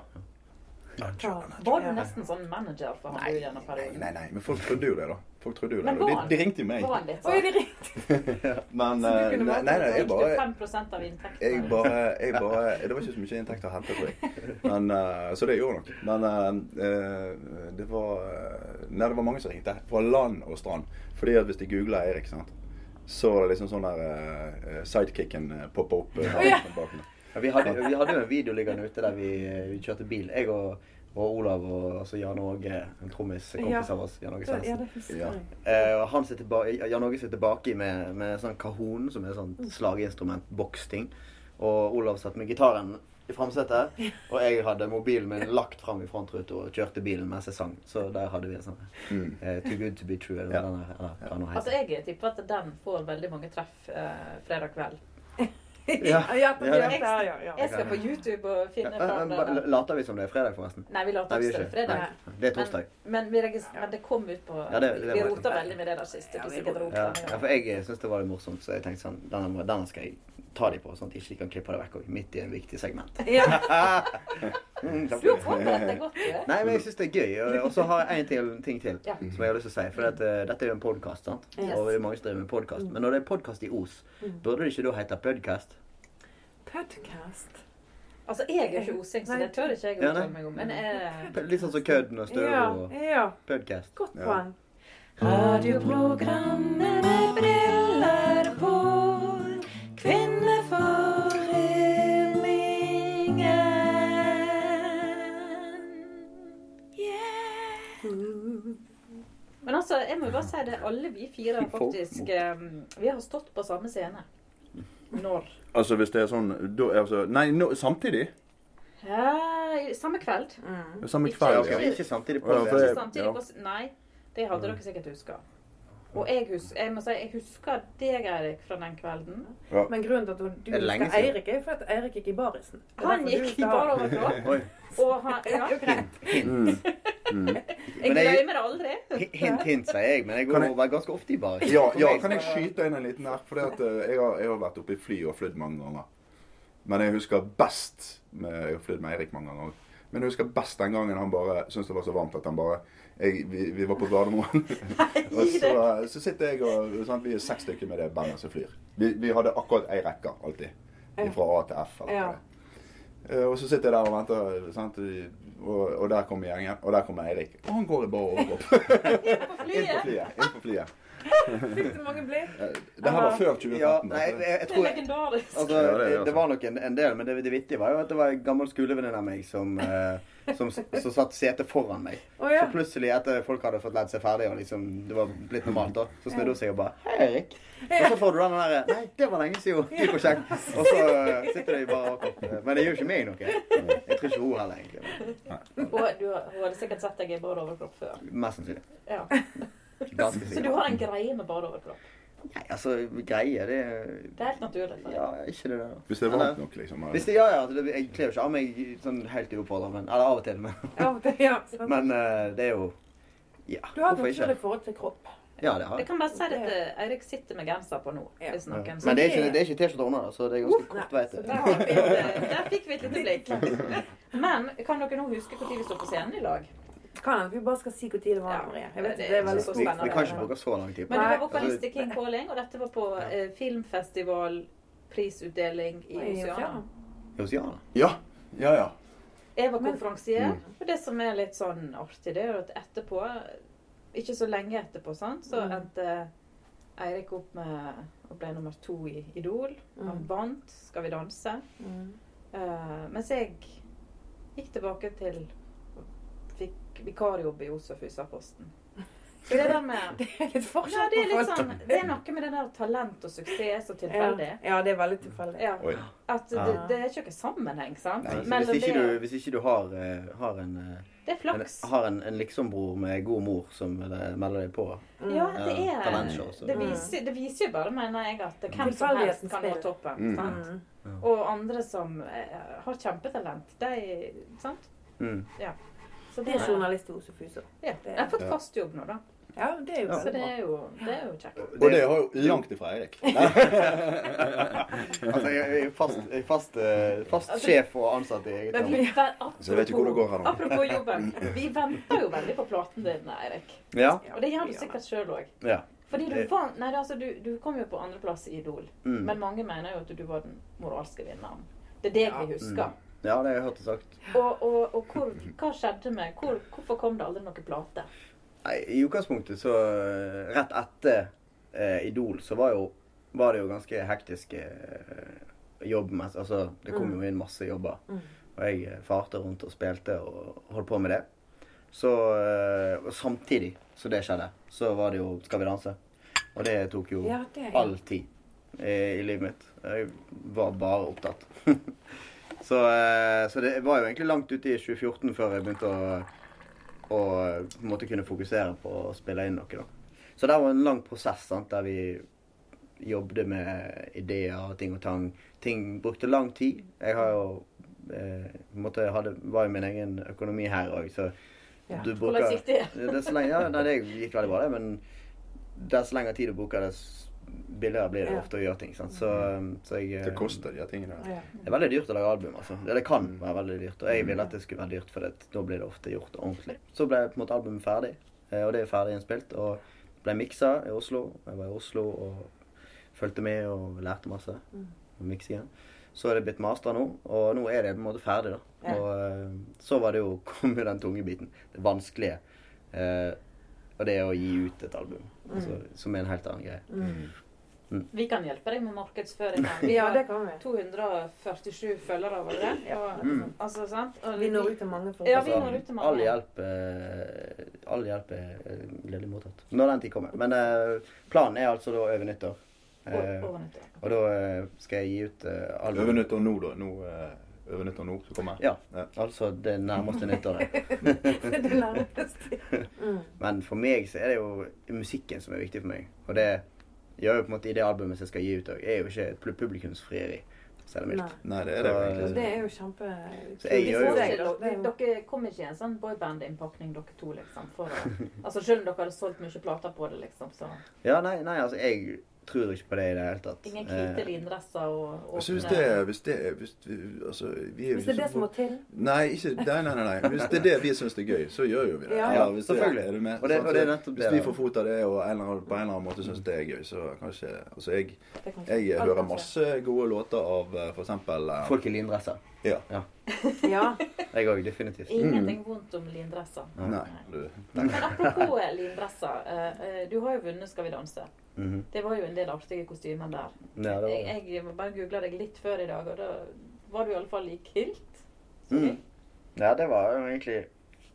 [SPEAKER 2] Var du nesten sånn manager for han du
[SPEAKER 5] Nei,
[SPEAKER 2] gjennom
[SPEAKER 5] nei,
[SPEAKER 2] perioden?
[SPEAKER 5] nei, nei, men folk trodde jo det, da. Folk trodde jo det.
[SPEAKER 2] Men var
[SPEAKER 5] De,
[SPEAKER 2] han-
[SPEAKER 5] de ringte jo meg.
[SPEAKER 2] Var han litt
[SPEAKER 1] Oi,
[SPEAKER 2] sånn?
[SPEAKER 1] det ringte. Så
[SPEAKER 5] Men
[SPEAKER 1] du
[SPEAKER 5] eh,
[SPEAKER 1] kunne
[SPEAKER 5] nei,
[SPEAKER 1] valgt å
[SPEAKER 5] nei, nei, jeg
[SPEAKER 2] Fikk du
[SPEAKER 5] bare
[SPEAKER 2] 5 av
[SPEAKER 5] jeg
[SPEAKER 2] inntektene?
[SPEAKER 5] bare, jeg bare Det var ikke så mye inntekt å hente, tror jeg. Men, eh, så det gjorde nok. Men eh, eh, det var eh, Nei, det var mange som ringte. Fra land og strand. Fordi at hvis de googla Eirik, sant, så var det liksom sånn der eh, eh, sidekicken eh, poppa opp. eh,
[SPEAKER 1] Å, ja.
[SPEAKER 5] bak meg.
[SPEAKER 3] Ja, Vi hadde, vi hadde jo en video liggende ute der vi, vi kjørte bil. Jeg og, og Olav og altså Jan Åge, en trommis, en kompis
[SPEAKER 1] Ja.
[SPEAKER 3] av oss. Jan Åge
[SPEAKER 1] Ja,
[SPEAKER 3] Svendsen.
[SPEAKER 1] det husker
[SPEAKER 5] Ja.
[SPEAKER 1] jeg.
[SPEAKER 3] Eh, og han sitter ba Jan Åge sitter baki med, med sånn kahon, som er sånn slageinstrument, boksting. Og Olav satt med gitaren i framsetet. Og jeg hadde mobilen min lagt fram i frontruten og kjørte bilen mens jeg sang. Så der hadde vi en sånn
[SPEAKER 5] Mm.
[SPEAKER 3] eh, Too good to be true. Eller,
[SPEAKER 5] Ja.
[SPEAKER 3] hva den er, eller, hva den
[SPEAKER 2] Altså,
[SPEAKER 3] heter.
[SPEAKER 2] jeg tipper at den får veldig mange treff eh, fredag kveld.
[SPEAKER 3] Ja.
[SPEAKER 1] Ja, det
[SPEAKER 3] Ja,
[SPEAKER 1] gjør det, ja, ja.
[SPEAKER 2] Jeg skal på YouTube og
[SPEAKER 3] Ja,
[SPEAKER 2] finne
[SPEAKER 3] eh,
[SPEAKER 2] fram
[SPEAKER 3] eh,
[SPEAKER 2] den.
[SPEAKER 3] ba- Later vi som det er fredag, forresten?
[SPEAKER 2] Nei, vi
[SPEAKER 3] Nei,
[SPEAKER 2] later
[SPEAKER 3] vi
[SPEAKER 2] oss
[SPEAKER 3] gjør
[SPEAKER 2] til
[SPEAKER 3] ikke det.
[SPEAKER 2] fredag.
[SPEAKER 3] Nei, Det er torsdag.
[SPEAKER 2] Men, men, vi registrer, men det kom ut på
[SPEAKER 3] Ja, det- det
[SPEAKER 2] Vi
[SPEAKER 3] var-
[SPEAKER 2] rota veldig med det der sist. Det blir sikkert rot
[SPEAKER 3] Ja,
[SPEAKER 2] denne
[SPEAKER 3] ja,
[SPEAKER 2] gangen.
[SPEAKER 3] for jeg syns det var litt morsomt, så jeg tenkte sånn Denne, må- denne skal jeg ta de på, sånn at de ikke kan klippe det vekk også, midt i en viktig segment.
[SPEAKER 1] Ja.
[SPEAKER 3] Mm, takk
[SPEAKER 2] Du
[SPEAKER 3] for
[SPEAKER 2] har
[SPEAKER 3] det.
[SPEAKER 2] forberedt deg godt, du.
[SPEAKER 3] Nei, men jeg syns det er gøy. og- Og så har jeg en til, ting til
[SPEAKER 2] Ja.
[SPEAKER 3] som jeg har lyst til å si. For det at, eh, dette er jo en podkast, sant?
[SPEAKER 1] Yes. Mm.
[SPEAKER 3] Og det er mange som driver med podkast. Men når det er podkast i Os, burde det ikke da hete podcast?
[SPEAKER 1] Podcast.
[SPEAKER 2] Altså, jeg er ikke osing, så
[SPEAKER 1] Nei.
[SPEAKER 2] det tør ikke jeg å
[SPEAKER 3] Ja,
[SPEAKER 2] uttale
[SPEAKER 3] nei.
[SPEAKER 2] meg om. Men eh,
[SPEAKER 3] P- Litt sånn som Kødden og
[SPEAKER 1] Ja,
[SPEAKER 3] Støv og
[SPEAKER 1] ja.
[SPEAKER 3] podcast.
[SPEAKER 1] Godt
[SPEAKER 5] Ja.
[SPEAKER 1] poeng.
[SPEAKER 7] Radioprogrammet med briller på. Kvinnefolk.
[SPEAKER 2] ingen.
[SPEAKER 1] Mm.
[SPEAKER 2] Men altså, jeg må jo bare si det. Alle vi fire har faktisk em, Vi har stått på samme scene. Når?
[SPEAKER 5] Altså hvis det er sånn da, er altså, Nei, nå- samtidig?
[SPEAKER 2] Ja, i- samme kveld.
[SPEAKER 5] Samme
[SPEAKER 2] Ikke-
[SPEAKER 5] kveld?
[SPEAKER 2] ikke-
[SPEAKER 5] Ja.
[SPEAKER 3] Ikke samtidig på
[SPEAKER 5] Ja, for
[SPEAKER 3] det.
[SPEAKER 5] jeg-
[SPEAKER 2] Samtidig på s- Nei, det hadde dere sikkert huska. Og jeg, hus, jeg må si, jeg husker deg, Eirik, fra den kvelden.
[SPEAKER 1] Men grunnen til at du- du
[SPEAKER 3] Er det lenge
[SPEAKER 1] husker
[SPEAKER 3] siden?
[SPEAKER 1] Eirik, er jo fordi at Eirik gikk i barisen. Det er
[SPEAKER 2] Han
[SPEAKER 1] derfor du
[SPEAKER 2] gikk
[SPEAKER 1] ikke har-
[SPEAKER 2] bare over fra.
[SPEAKER 3] Oi.
[SPEAKER 2] Og han, ja,
[SPEAKER 5] Mm.
[SPEAKER 2] jeg
[SPEAKER 3] Men jeg-
[SPEAKER 2] glemmer det aldri.
[SPEAKER 3] Hint, hint, sier jeg, men jeg
[SPEAKER 5] Kan
[SPEAKER 3] går
[SPEAKER 5] jeg-
[SPEAKER 3] over ganske ofte i bar.
[SPEAKER 5] Ja, ja, kan jeg skyte inn en liten her? For jeg, har- jeg har vært oppe i fly og flydd mange ganger. Men jeg husker best med, Jeg har flydd med Eirik mange ganger. Men jeg husker best den gangen han bare syntes det var så varmt at han bare jeg, vi, vi var på Gardermoen. og så, så sitter jeg og sant, Vi er seks stykker med det bandet som flyr. Vi, vi hadde akkurat ei rekke alltid. Fra A til F. Eller
[SPEAKER 1] Ja.
[SPEAKER 5] hva det er. Eh, Og så sitter jeg der og venter, sant? Og, og der kommer gjengen. Og der kommer Eirik. Og han går i bar overkropp. Inn på flyet. Inn på flyet.
[SPEAKER 1] Fikk du mange blikk?
[SPEAKER 5] Eh, Det her var før 2015.
[SPEAKER 3] Ja, nei,
[SPEAKER 5] altså.
[SPEAKER 3] jeg, jeg, jeg
[SPEAKER 2] Det er
[SPEAKER 3] tror
[SPEAKER 2] legendarisk.
[SPEAKER 3] Altså,
[SPEAKER 5] Ja, det er
[SPEAKER 3] det,
[SPEAKER 5] altså.
[SPEAKER 3] var nok en, en del, men det, det vittige var jo at det var en gammel skolevenninne av meg som, eh, som, som satt setet foran meg.
[SPEAKER 1] Å ja.
[SPEAKER 3] Så plutselig, etter folk hadde fått ledd seg ferdig, og liksom, det var blitt normalt, da, så snudde hun seg og bare 'Hei, Erik.' Og så får du den derre 'Nei, det var lenge siden. Du får kjekt.' Og så eh, sitter de bare og Men det gjør ikke meg noe. Jeg tror ikke hun heller, egentlig.
[SPEAKER 2] Og du, har- hun hadde sikkert sett deg i bare overkropp før.
[SPEAKER 3] men Mest sannsynlig.
[SPEAKER 2] Ja.
[SPEAKER 3] Ganske
[SPEAKER 2] Så du
[SPEAKER 3] sikkert.
[SPEAKER 2] har en greie med bare overkropp.
[SPEAKER 3] Nei, altså, greie, det
[SPEAKER 2] Det er helt naturlig. for deg.
[SPEAKER 3] Ja, ikke det der.
[SPEAKER 5] Hvis det er
[SPEAKER 3] Eller-
[SPEAKER 5] varmt nok, liksom.
[SPEAKER 3] Hvis det, ja, ja, altså, det, jeg kler jo ikke av meg sånn helt uoppfordra, men Eller av og til, men
[SPEAKER 1] Ja, det, ja. sant.
[SPEAKER 3] Men eh, det er jo Ja,
[SPEAKER 1] Du har et
[SPEAKER 3] hvorfor ikke?
[SPEAKER 1] naturlig forhold til kropp.
[SPEAKER 3] Ja, det har
[SPEAKER 2] Jeg
[SPEAKER 3] jeg.
[SPEAKER 2] kan bare si det at eh, Eirik sitter med genser på nå.
[SPEAKER 1] Ja.
[SPEAKER 2] Hvis
[SPEAKER 3] Ja.
[SPEAKER 2] noen
[SPEAKER 3] Men det er ikke, det er ikke T-skjorte under, så det er ganske
[SPEAKER 1] Uff, nei.
[SPEAKER 3] kort vei til
[SPEAKER 2] Der, har vi et, eh, der fikk vi et lite blikk. Men kan dere nå huske når vi står på scenen i lag?
[SPEAKER 1] Kan hende vi bare skal si hvor tid det var,
[SPEAKER 2] Ja.
[SPEAKER 1] Marie. Jeg vet
[SPEAKER 2] Det-
[SPEAKER 1] ikke, det er veldig
[SPEAKER 2] det-
[SPEAKER 3] Vi,
[SPEAKER 1] stort.
[SPEAKER 3] vi kan ikke bruke så lang tid på
[SPEAKER 2] Men du
[SPEAKER 1] Nei.
[SPEAKER 2] var vokalist i King Calling, og dette var på eh, filmfestival, prisutdeling i
[SPEAKER 1] Oi,
[SPEAKER 2] Oceana.
[SPEAKER 1] ja.
[SPEAKER 3] Josiana.
[SPEAKER 5] Ja. Ja, ja.
[SPEAKER 2] Jeg var konferansier, og det som er litt sånn artig, det er jo at etterpå, ikke så lenge etterpå, sant, så
[SPEAKER 1] Mm.
[SPEAKER 2] endte Eirik opp med å bli nummer to i Idol. Han
[SPEAKER 1] Mm.
[SPEAKER 2] vant 'Skal vi danse'.
[SPEAKER 1] Mm.
[SPEAKER 2] Eh, mens jeg gikk tilbake til Fikk vikarjobb i Oslo-Fusaposten. Så det der med
[SPEAKER 1] Det er litt forskjell
[SPEAKER 2] Ja, det er
[SPEAKER 1] på
[SPEAKER 2] litt
[SPEAKER 1] folk.
[SPEAKER 2] sånn Det er noe med det der talent og suksess og tilfeldig.
[SPEAKER 1] Ja. ja, det er veldig tilfeldig.
[SPEAKER 2] Ja.
[SPEAKER 5] Oi.
[SPEAKER 2] At det,
[SPEAKER 1] Ja.
[SPEAKER 2] det er ikke noen sammenheng, sant?
[SPEAKER 3] Ah. Nei, så
[SPEAKER 2] Mellom
[SPEAKER 3] hvis
[SPEAKER 2] det,
[SPEAKER 3] ikke du, hvis ikke du har, eh, har en, eh,
[SPEAKER 2] det er
[SPEAKER 3] en,
[SPEAKER 2] flaks.
[SPEAKER 3] har en, en liksombror med god mor som eh, melder deg på
[SPEAKER 1] Mm.
[SPEAKER 2] Ja, det
[SPEAKER 3] Ja,
[SPEAKER 2] er
[SPEAKER 3] talentshow, så.
[SPEAKER 2] det viser, det viser jo bare, mener jeg, at hvem som
[SPEAKER 1] Tilfeldigheten
[SPEAKER 2] helst kan nå
[SPEAKER 1] spiller.
[SPEAKER 2] toppen.
[SPEAKER 5] Mm.
[SPEAKER 2] Sant?
[SPEAKER 1] Mm.
[SPEAKER 2] Og andre som eh, har kjempetalent, de Sant?
[SPEAKER 3] Mm.
[SPEAKER 2] Så
[SPEAKER 1] Det er journalist i Oslo Fuser.
[SPEAKER 2] Ja. Jeg har fått fast jobb nå, da.
[SPEAKER 1] Ja, det er jo
[SPEAKER 2] Så
[SPEAKER 1] veldig
[SPEAKER 2] det
[SPEAKER 1] bra.
[SPEAKER 2] er jo, det er jo kjekt.
[SPEAKER 5] Og det har jo langt ifra Eirik.
[SPEAKER 3] Altså, jeg jeg er fast, jeg er fast, eh, fast sjef og ansatt i eget
[SPEAKER 2] Altså, Men
[SPEAKER 3] land.
[SPEAKER 2] vi, apropos,
[SPEAKER 5] Så jeg vet ikke hvor det går her nå.
[SPEAKER 2] apropos jobben. Vi venter jo veldig på platen din, Eirik.
[SPEAKER 3] Ja.
[SPEAKER 1] Ja,
[SPEAKER 2] Og det gjør du
[SPEAKER 1] ja.
[SPEAKER 2] sikkert sjøl òg.
[SPEAKER 3] ja.
[SPEAKER 2] Fordi du
[SPEAKER 3] Det-
[SPEAKER 2] vant Nei, altså, du, du kom jo på andreplass i Idol.
[SPEAKER 3] Mm.
[SPEAKER 2] Men mange mener jo at du var den moralske vinneren. Det er det
[SPEAKER 1] Ja.
[SPEAKER 2] vi husker.
[SPEAKER 3] Mm. ja, det har jeg hørt og sagt.
[SPEAKER 5] Mm.
[SPEAKER 2] Og, og, og hvor, hva skjedde med hvor, Hvorfor kom det aldri noen plate?
[SPEAKER 3] Nei, I utgangspunktet så eh, Rett etter eh, Idol så var, jo, var det jo ganske hektisk eh, jobb. mens- Altså, det kom jo inn masse jobber. Og jeg eh, farte rundt og spilte og holdt på med det. Så eh, og Samtidig som det skjedde, så var det jo Skal vi danse. Og det tok jo
[SPEAKER 1] Ja, det er-
[SPEAKER 3] all tid eh, i livet mitt. Jeg var bare opptatt. så, eh, så det var jo egentlig langt ute i 2014 før jeg begynte å og på en måte kunne fokusere på å spille inn noe. da. Så det var en lang prosess sant, der vi jobbet med ideer og ting og tang. Ting brukte lang tid. Jeg har jo eh, på en måte hadde, var jo min egen økonomi her òg, så
[SPEAKER 1] Ja.
[SPEAKER 3] du
[SPEAKER 2] Hvordan
[SPEAKER 3] bruker
[SPEAKER 2] gikk det?
[SPEAKER 3] er så lenge, ja, nei, det gikk veldig bra, det, men dess lengre tid du bruker, dess billigere blir det
[SPEAKER 1] Ja.
[SPEAKER 3] ofte å gjøre ting. Sant? Så, så jeg eh,
[SPEAKER 5] Mm. Det koster de her tingene. der.
[SPEAKER 1] Ja.
[SPEAKER 3] det er veldig dyrt å lage album, altså. Det, det kan være veldig dyrt. Og jeg ville at det skulle være dyrt, for det, da blir det ofte gjort ordentlig. Så ble på en måte albumet ferdig, eh, og det er ferdig innspilt. Og ble miksa i Oslo. Jeg var i Oslo og fulgte med og lærte masse om miksingen. Så er det blitt mastra nå, og nå er det på en måte ferdig, da. Og eh, så var det jo kom jo den tunge biten. Det vanskelige. Eh, og det er å gi ut et album. Altså, som er en helt annen greie.
[SPEAKER 2] Vi kan hjelpe deg med markedsføring.
[SPEAKER 1] Ja, det kan vi.
[SPEAKER 2] 247 følgere, var det det? Og-
[SPEAKER 3] Mm.
[SPEAKER 2] Altså, sant? Og
[SPEAKER 1] Vi når ut til mange folk.
[SPEAKER 2] Ja, vi når ut til
[SPEAKER 3] Altså,
[SPEAKER 2] mange.
[SPEAKER 3] all hjelp eh, All hjelp er eh, gledelig mottatt. Når den tid kommer. Men eh, planen er altså da over nyttår. Eh,
[SPEAKER 2] Og- over nyttår.
[SPEAKER 3] og da eh, skal jeg gi ut eh, album.
[SPEAKER 5] Over nyttår nå, da. Nå, eh, over nyttår nå som kommer?
[SPEAKER 3] Ja.
[SPEAKER 5] Ja.
[SPEAKER 3] Altså det nærmeste nyttåret.
[SPEAKER 1] Det nærmeste. Mm.
[SPEAKER 3] Men for meg så er det jo musikken som er viktig for meg. Og det gjør jo på en måte i det albumet som jeg skal gi ut òg. Er jo ikke et publikumsfrieri, selv om
[SPEAKER 1] Nei.
[SPEAKER 3] mildt.
[SPEAKER 5] Nei, det er det jo egentlig.
[SPEAKER 1] Det er jo kjempe...
[SPEAKER 3] Så jeg
[SPEAKER 2] Vi
[SPEAKER 3] gjør jo-
[SPEAKER 2] får
[SPEAKER 1] Det
[SPEAKER 2] ikke,
[SPEAKER 1] er jo-
[SPEAKER 2] dere, dere kom ikke i en sånn boyband-innpakning, dere to, liksom. For å, altså, selv om dere hadde solgt mye plater på det, liksom. Så
[SPEAKER 3] Ja, nei, nei, altså jeg tror ikke på det i det hele tatt.
[SPEAKER 2] ingen
[SPEAKER 3] Eh,
[SPEAKER 2] hvite lindresser og
[SPEAKER 5] Jeg synes det er Hvis det er hvis vi, Altså, vi er jo
[SPEAKER 1] Hvis det er det
[SPEAKER 5] ikke så-
[SPEAKER 1] som må til.
[SPEAKER 5] Nei, ikke, nei, nei, nei, nei. Hvis det er det vi syns er gøy, så gjør jo vi det.
[SPEAKER 1] Ja.
[SPEAKER 5] Eller hvis det-
[SPEAKER 3] Selvfølgelig.
[SPEAKER 5] Er du med?
[SPEAKER 3] Og det-
[SPEAKER 5] Sant?
[SPEAKER 3] og det er nettopp det,
[SPEAKER 5] Hvis vi
[SPEAKER 3] da.
[SPEAKER 5] får fot av det, og en eller annen, på en eller annen måte syns det er gøy, så kanskje Altså, jeg,
[SPEAKER 1] Det kan
[SPEAKER 5] jeg eh,
[SPEAKER 1] Alt
[SPEAKER 5] hører
[SPEAKER 1] kan skje.
[SPEAKER 5] masse gode låter av eh, for eksempel eh,
[SPEAKER 3] Folk i lindresser.
[SPEAKER 5] Ja.
[SPEAKER 1] Ja.
[SPEAKER 3] Jeg òg, definitivt.
[SPEAKER 2] Ingenting vondt om lindresser.
[SPEAKER 5] Nei. Du,
[SPEAKER 2] Men apropos lindresser. eh, eh, Du har jo vunnet Skal vi danse.
[SPEAKER 3] Mhm.
[SPEAKER 2] Det var jo en del artige kostymer der.
[SPEAKER 3] Ja, det var det.
[SPEAKER 2] Jeg, jeg bare googla deg litt før i dag, og da var du i alle fall i kilt. Så
[SPEAKER 3] Mm. Ja, det var jo egentlig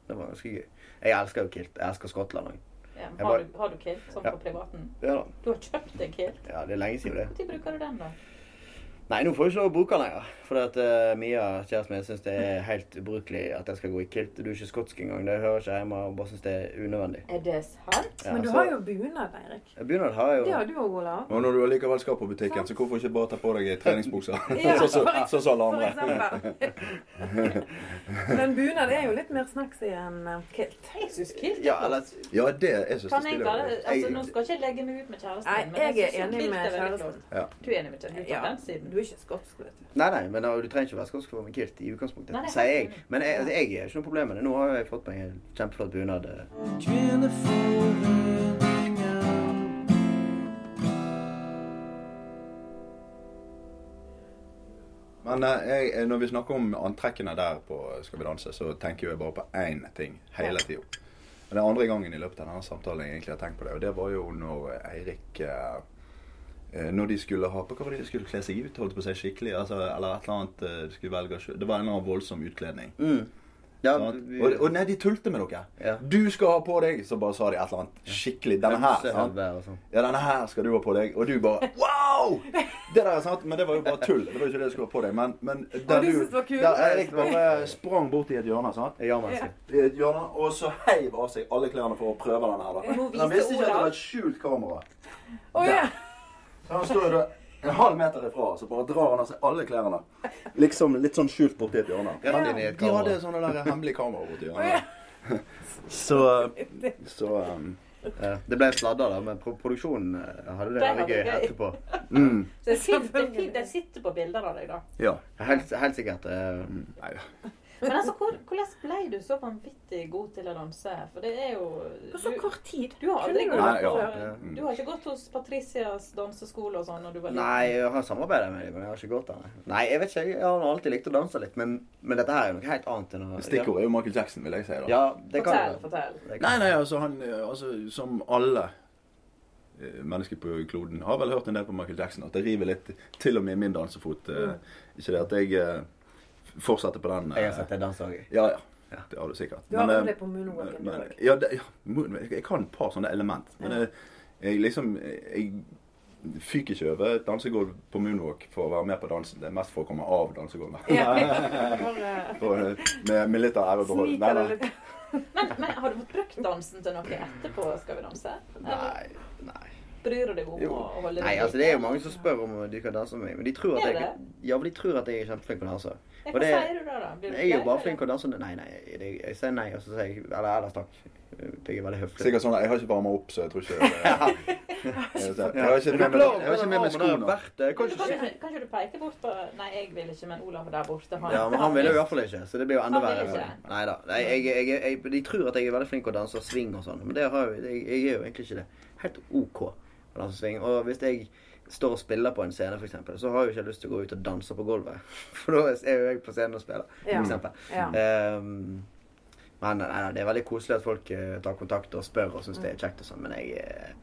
[SPEAKER 3] Det var ganske gøy. Jeg elsker jo kilt. Jeg elsker Skottland òg.
[SPEAKER 2] ja,
[SPEAKER 3] Jeg
[SPEAKER 2] har,
[SPEAKER 3] bare-
[SPEAKER 2] du, har du kilt sånn
[SPEAKER 3] Ja.
[SPEAKER 2] på privaten?
[SPEAKER 3] Ja da.
[SPEAKER 2] Du har kjøpt deg kilt?
[SPEAKER 3] Ja, det er lenge siden det.
[SPEAKER 2] Når bruker du den, da?
[SPEAKER 3] Nei, nå får jeg ikke lov å bruke den lenger. Fordi at eh, Mia, kjæresten min, syns det er helt ubrukelig at jeg skal gå i kilt. Du er ikke skotsk engang. Det hører ikke hjemme. Og bare syns det er unødvendig.
[SPEAKER 2] Er det sant?
[SPEAKER 3] Ja,
[SPEAKER 1] Men du
[SPEAKER 3] så-
[SPEAKER 1] har jo bunad, Eirik.
[SPEAKER 3] Bunad har jeg
[SPEAKER 1] Det
[SPEAKER 3] jo.
[SPEAKER 1] har du òg, Olav.
[SPEAKER 5] og når du allikevel skal på butikken, så hvorfor ikke bare ta på deg treningsbukser?
[SPEAKER 1] Ja,
[SPEAKER 5] Sånn som sånn som alle
[SPEAKER 1] For
[SPEAKER 5] andre.
[SPEAKER 1] eksempel. Men bunad er jo litt mer snacksy enn eh, kilt.
[SPEAKER 2] Jeg syns kilt
[SPEAKER 3] Ja, eller
[SPEAKER 5] Ja, det er så
[SPEAKER 2] Kan jeg bare,
[SPEAKER 5] stilig.
[SPEAKER 2] altså
[SPEAKER 3] Jeg-
[SPEAKER 2] Nå skal ikke jeg legge meg ut med kjæresten.
[SPEAKER 1] Nei,
[SPEAKER 2] men
[SPEAKER 1] jeg
[SPEAKER 2] synes
[SPEAKER 1] er enig
[SPEAKER 2] kilt
[SPEAKER 1] med
[SPEAKER 2] veldig
[SPEAKER 1] kjæresten.
[SPEAKER 2] flott.
[SPEAKER 5] Ja.
[SPEAKER 2] Du er enig med kjæresten? Ja.
[SPEAKER 1] Ja.
[SPEAKER 2] Den siden.
[SPEAKER 1] Du er ikke skotsk, vet du.
[SPEAKER 3] Nei, nei, men da, du trenger ikke være skotsk for å være med kilt i utgangspunktet,
[SPEAKER 2] Nei, det er
[SPEAKER 3] sier jeg.
[SPEAKER 2] helt enig.
[SPEAKER 3] Men jeg, altså, jeg er ikke noe problem med det. Nå har jeg fått meg en kjempeflott bunad. eh.
[SPEAKER 5] Men eh, jeg, eh, når vi snakker om antrekkene der på Skal vi danse, så tenker jeg bare på én ting hele tida. Og Det er andre gangen i løpet av denne samtalen jeg egentlig har tenkt på det, og det var jo når Eirik eh, eh, Når de skulle ha på Hva var det de skulle kle seg ut? Holdt på å si skikkelig? Altså, eller et eller annet eh, de skulle velge sjøl. Det var en eller annen voldsom utkledning.
[SPEAKER 3] Mm. Ja,
[SPEAKER 5] sant?
[SPEAKER 3] vi-
[SPEAKER 5] Og, og nei, de tulte med dere.
[SPEAKER 3] Ja.
[SPEAKER 5] Du skal ha på deg Så bare sa de et eller annet skikkelig. Denne her. sant?
[SPEAKER 3] Høvler og sånn.
[SPEAKER 5] Ja, denne her skal du ha på deg. Og du bare Wow! Det der er sant, men det var jo bare tull. Det var jo ikke det du skulle ha på deg. Men, men
[SPEAKER 1] du synes det var kult.
[SPEAKER 5] der Erik bare sprang bort i et hjørne, sant?
[SPEAKER 3] Ja, men skal.
[SPEAKER 5] I et hjørne, og så heiv av seg alle klærne for å prøve den her. da.
[SPEAKER 2] Jeg må
[SPEAKER 5] Men han
[SPEAKER 2] vise
[SPEAKER 5] visste ikke at det
[SPEAKER 2] Olav.
[SPEAKER 5] var et skjult kamera.
[SPEAKER 1] Å ja!
[SPEAKER 5] Så han står jo da en halv meter ifra, så bare drar han av seg alle klærne. Liksom litt sånn skjult borti et hjørne.
[SPEAKER 3] Rett inn i et
[SPEAKER 5] De
[SPEAKER 3] kamera.
[SPEAKER 5] hadde sånne der hemmelige kameraer borti
[SPEAKER 1] Å ja.
[SPEAKER 5] hjørnet. Så, så um,
[SPEAKER 3] Ja, Det ble sladder, da, men pro produksjonen eh, hadde
[SPEAKER 2] Det
[SPEAKER 3] det veldig gøy
[SPEAKER 2] hadde gøy.
[SPEAKER 3] etterpå.
[SPEAKER 5] mm,
[SPEAKER 2] Så det sitter, det fin- det sitter på bilder av deg, da.
[SPEAKER 5] Ja. Mm.
[SPEAKER 3] Helt, helt sikkert. eh,
[SPEAKER 5] Nei,
[SPEAKER 2] Men altså, hvor, hvordan ble du så vanvittig god til å danse? For det er jo
[SPEAKER 1] På så
[SPEAKER 2] du-
[SPEAKER 1] kort tid.
[SPEAKER 2] Du har aldri
[SPEAKER 1] Kunne
[SPEAKER 2] gått
[SPEAKER 1] du-
[SPEAKER 5] Nei, ja.
[SPEAKER 2] på-
[SPEAKER 5] Mm.
[SPEAKER 2] Du har ikke gått hos Patricias danseskole og sånn når du var
[SPEAKER 3] Nei, jeg har samarbeidet med dem, men jeg har ikke gått der. nei. Nei, jeg vet ikke. Jeg har alltid likt å danse litt, men, men dette her er jo noe helt annet enn å
[SPEAKER 5] Stikkordet er jo Michael Jackson, vil jeg si. da.
[SPEAKER 3] Ja, det kan
[SPEAKER 2] Fortell,
[SPEAKER 3] det være.
[SPEAKER 2] fortell.
[SPEAKER 3] Det
[SPEAKER 5] Nei,
[SPEAKER 3] kan-
[SPEAKER 5] nei, altså han eh, altså, Som alle eh, mennesker på kloden har vel hørt en del på Michael Jackson. At det river litt, til og med i min dansefot. eh, Ikke det at jeg eh, fortsetter på den. eh,
[SPEAKER 3] Jeg har sett deg danse òg.
[SPEAKER 5] Ja, ja.
[SPEAKER 3] Ja.
[SPEAKER 5] Det har du sikkert.
[SPEAKER 1] Du har
[SPEAKER 5] Men,
[SPEAKER 1] vel
[SPEAKER 5] eh,
[SPEAKER 1] det på moonwalken,
[SPEAKER 5] men-
[SPEAKER 1] du òg.
[SPEAKER 5] Ja, det, ja moonwalk- jeg kan et par sånne element. Men
[SPEAKER 1] Ja.
[SPEAKER 5] jeg, jeg liksom Jeg fyker ikke over et dansegulv på moonwalk for å være med på dansen. Det er mest for å komme av dansegulvet.
[SPEAKER 1] Bare
[SPEAKER 5] For, eh, med, med litt av ære å beholde.
[SPEAKER 1] sniker
[SPEAKER 5] Nei,
[SPEAKER 1] det
[SPEAKER 5] nei.
[SPEAKER 1] litt.
[SPEAKER 2] Men, men har du fått brukt dansen til noe etterpå Skal vi danse? Eller
[SPEAKER 3] Nei, nei.
[SPEAKER 2] bryr du deg om
[SPEAKER 3] Jo.
[SPEAKER 2] å å holde
[SPEAKER 3] Nei,
[SPEAKER 2] det?
[SPEAKER 3] altså Det er jo mange som spør om du kan danse med meg, men de tror at
[SPEAKER 2] Er
[SPEAKER 3] jeg, ja, men de tror at jeg er kjempeflink til å danse.
[SPEAKER 2] Ja,
[SPEAKER 3] og
[SPEAKER 2] Hva
[SPEAKER 3] det-
[SPEAKER 2] sier du da, da? Blir du
[SPEAKER 3] Jeg er jo
[SPEAKER 2] flau,
[SPEAKER 3] bare
[SPEAKER 2] eller?
[SPEAKER 3] flink til å danse. Nei, nei, jeg, jeg sier nei, og så sier jeg Eller ellers takk. Jeg er veldig høflig.
[SPEAKER 5] Sikkert sånn at Jeg har ikke varma opp, så jeg tror ikke det- Jeg vet ikke. Jeg har ikke
[SPEAKER 3] Men
[SPEAKER 5] med meg,
[SPEAKER 3] klar over
[SPEAKER 5] jeg har ikke
[SPEAKER 3] den
[SPEAKER 5] med meg
[SPEAKER 3] armen der
[SPEAKER 5] skoene.
[SPEAKER 3] Berthe, jeg kan
[SPEAKER 2] Kan
[SPEAKER 3] ikke si-
[SPEAKER 2] ikke- kan ikke du peke bort på Nei, jeg vil ikke, men Olav der borte han-
[SPEAKER 3] Ja, men han ville i hvert fall ikke, så det blir jo enda
[SPEAKER 2] Han vil
[SPEAKER 3] verre.
[SPEAKER 2] ikke.
[SPEAKER 3] Nei da. Nei, jeg, jeg, jeg, de tror at jeg er veldig flink til å danse swing og sånn, men det har jo, jeg, jeg er jo egentlig ikke det. Helt OK å danse swing. Og hvis jeg står og spiller på en scene, for eksempel, så har jeg jo ikke lyst til å gå ut og danse på gulvet. For da er jo jeg på scenen og spiller, for
[SPEAKER 1] Ja.
[SPEAKER 5] Mm.
[SPEAKER 3] eksempel.
[SPEAKER 1] Ja.
[SPEAKER 3] Ehm, men nei, nei, det er veldig koselig at folk eh, tar kontakt og spør og syns det er kjekt og sånn, men jeg, eh,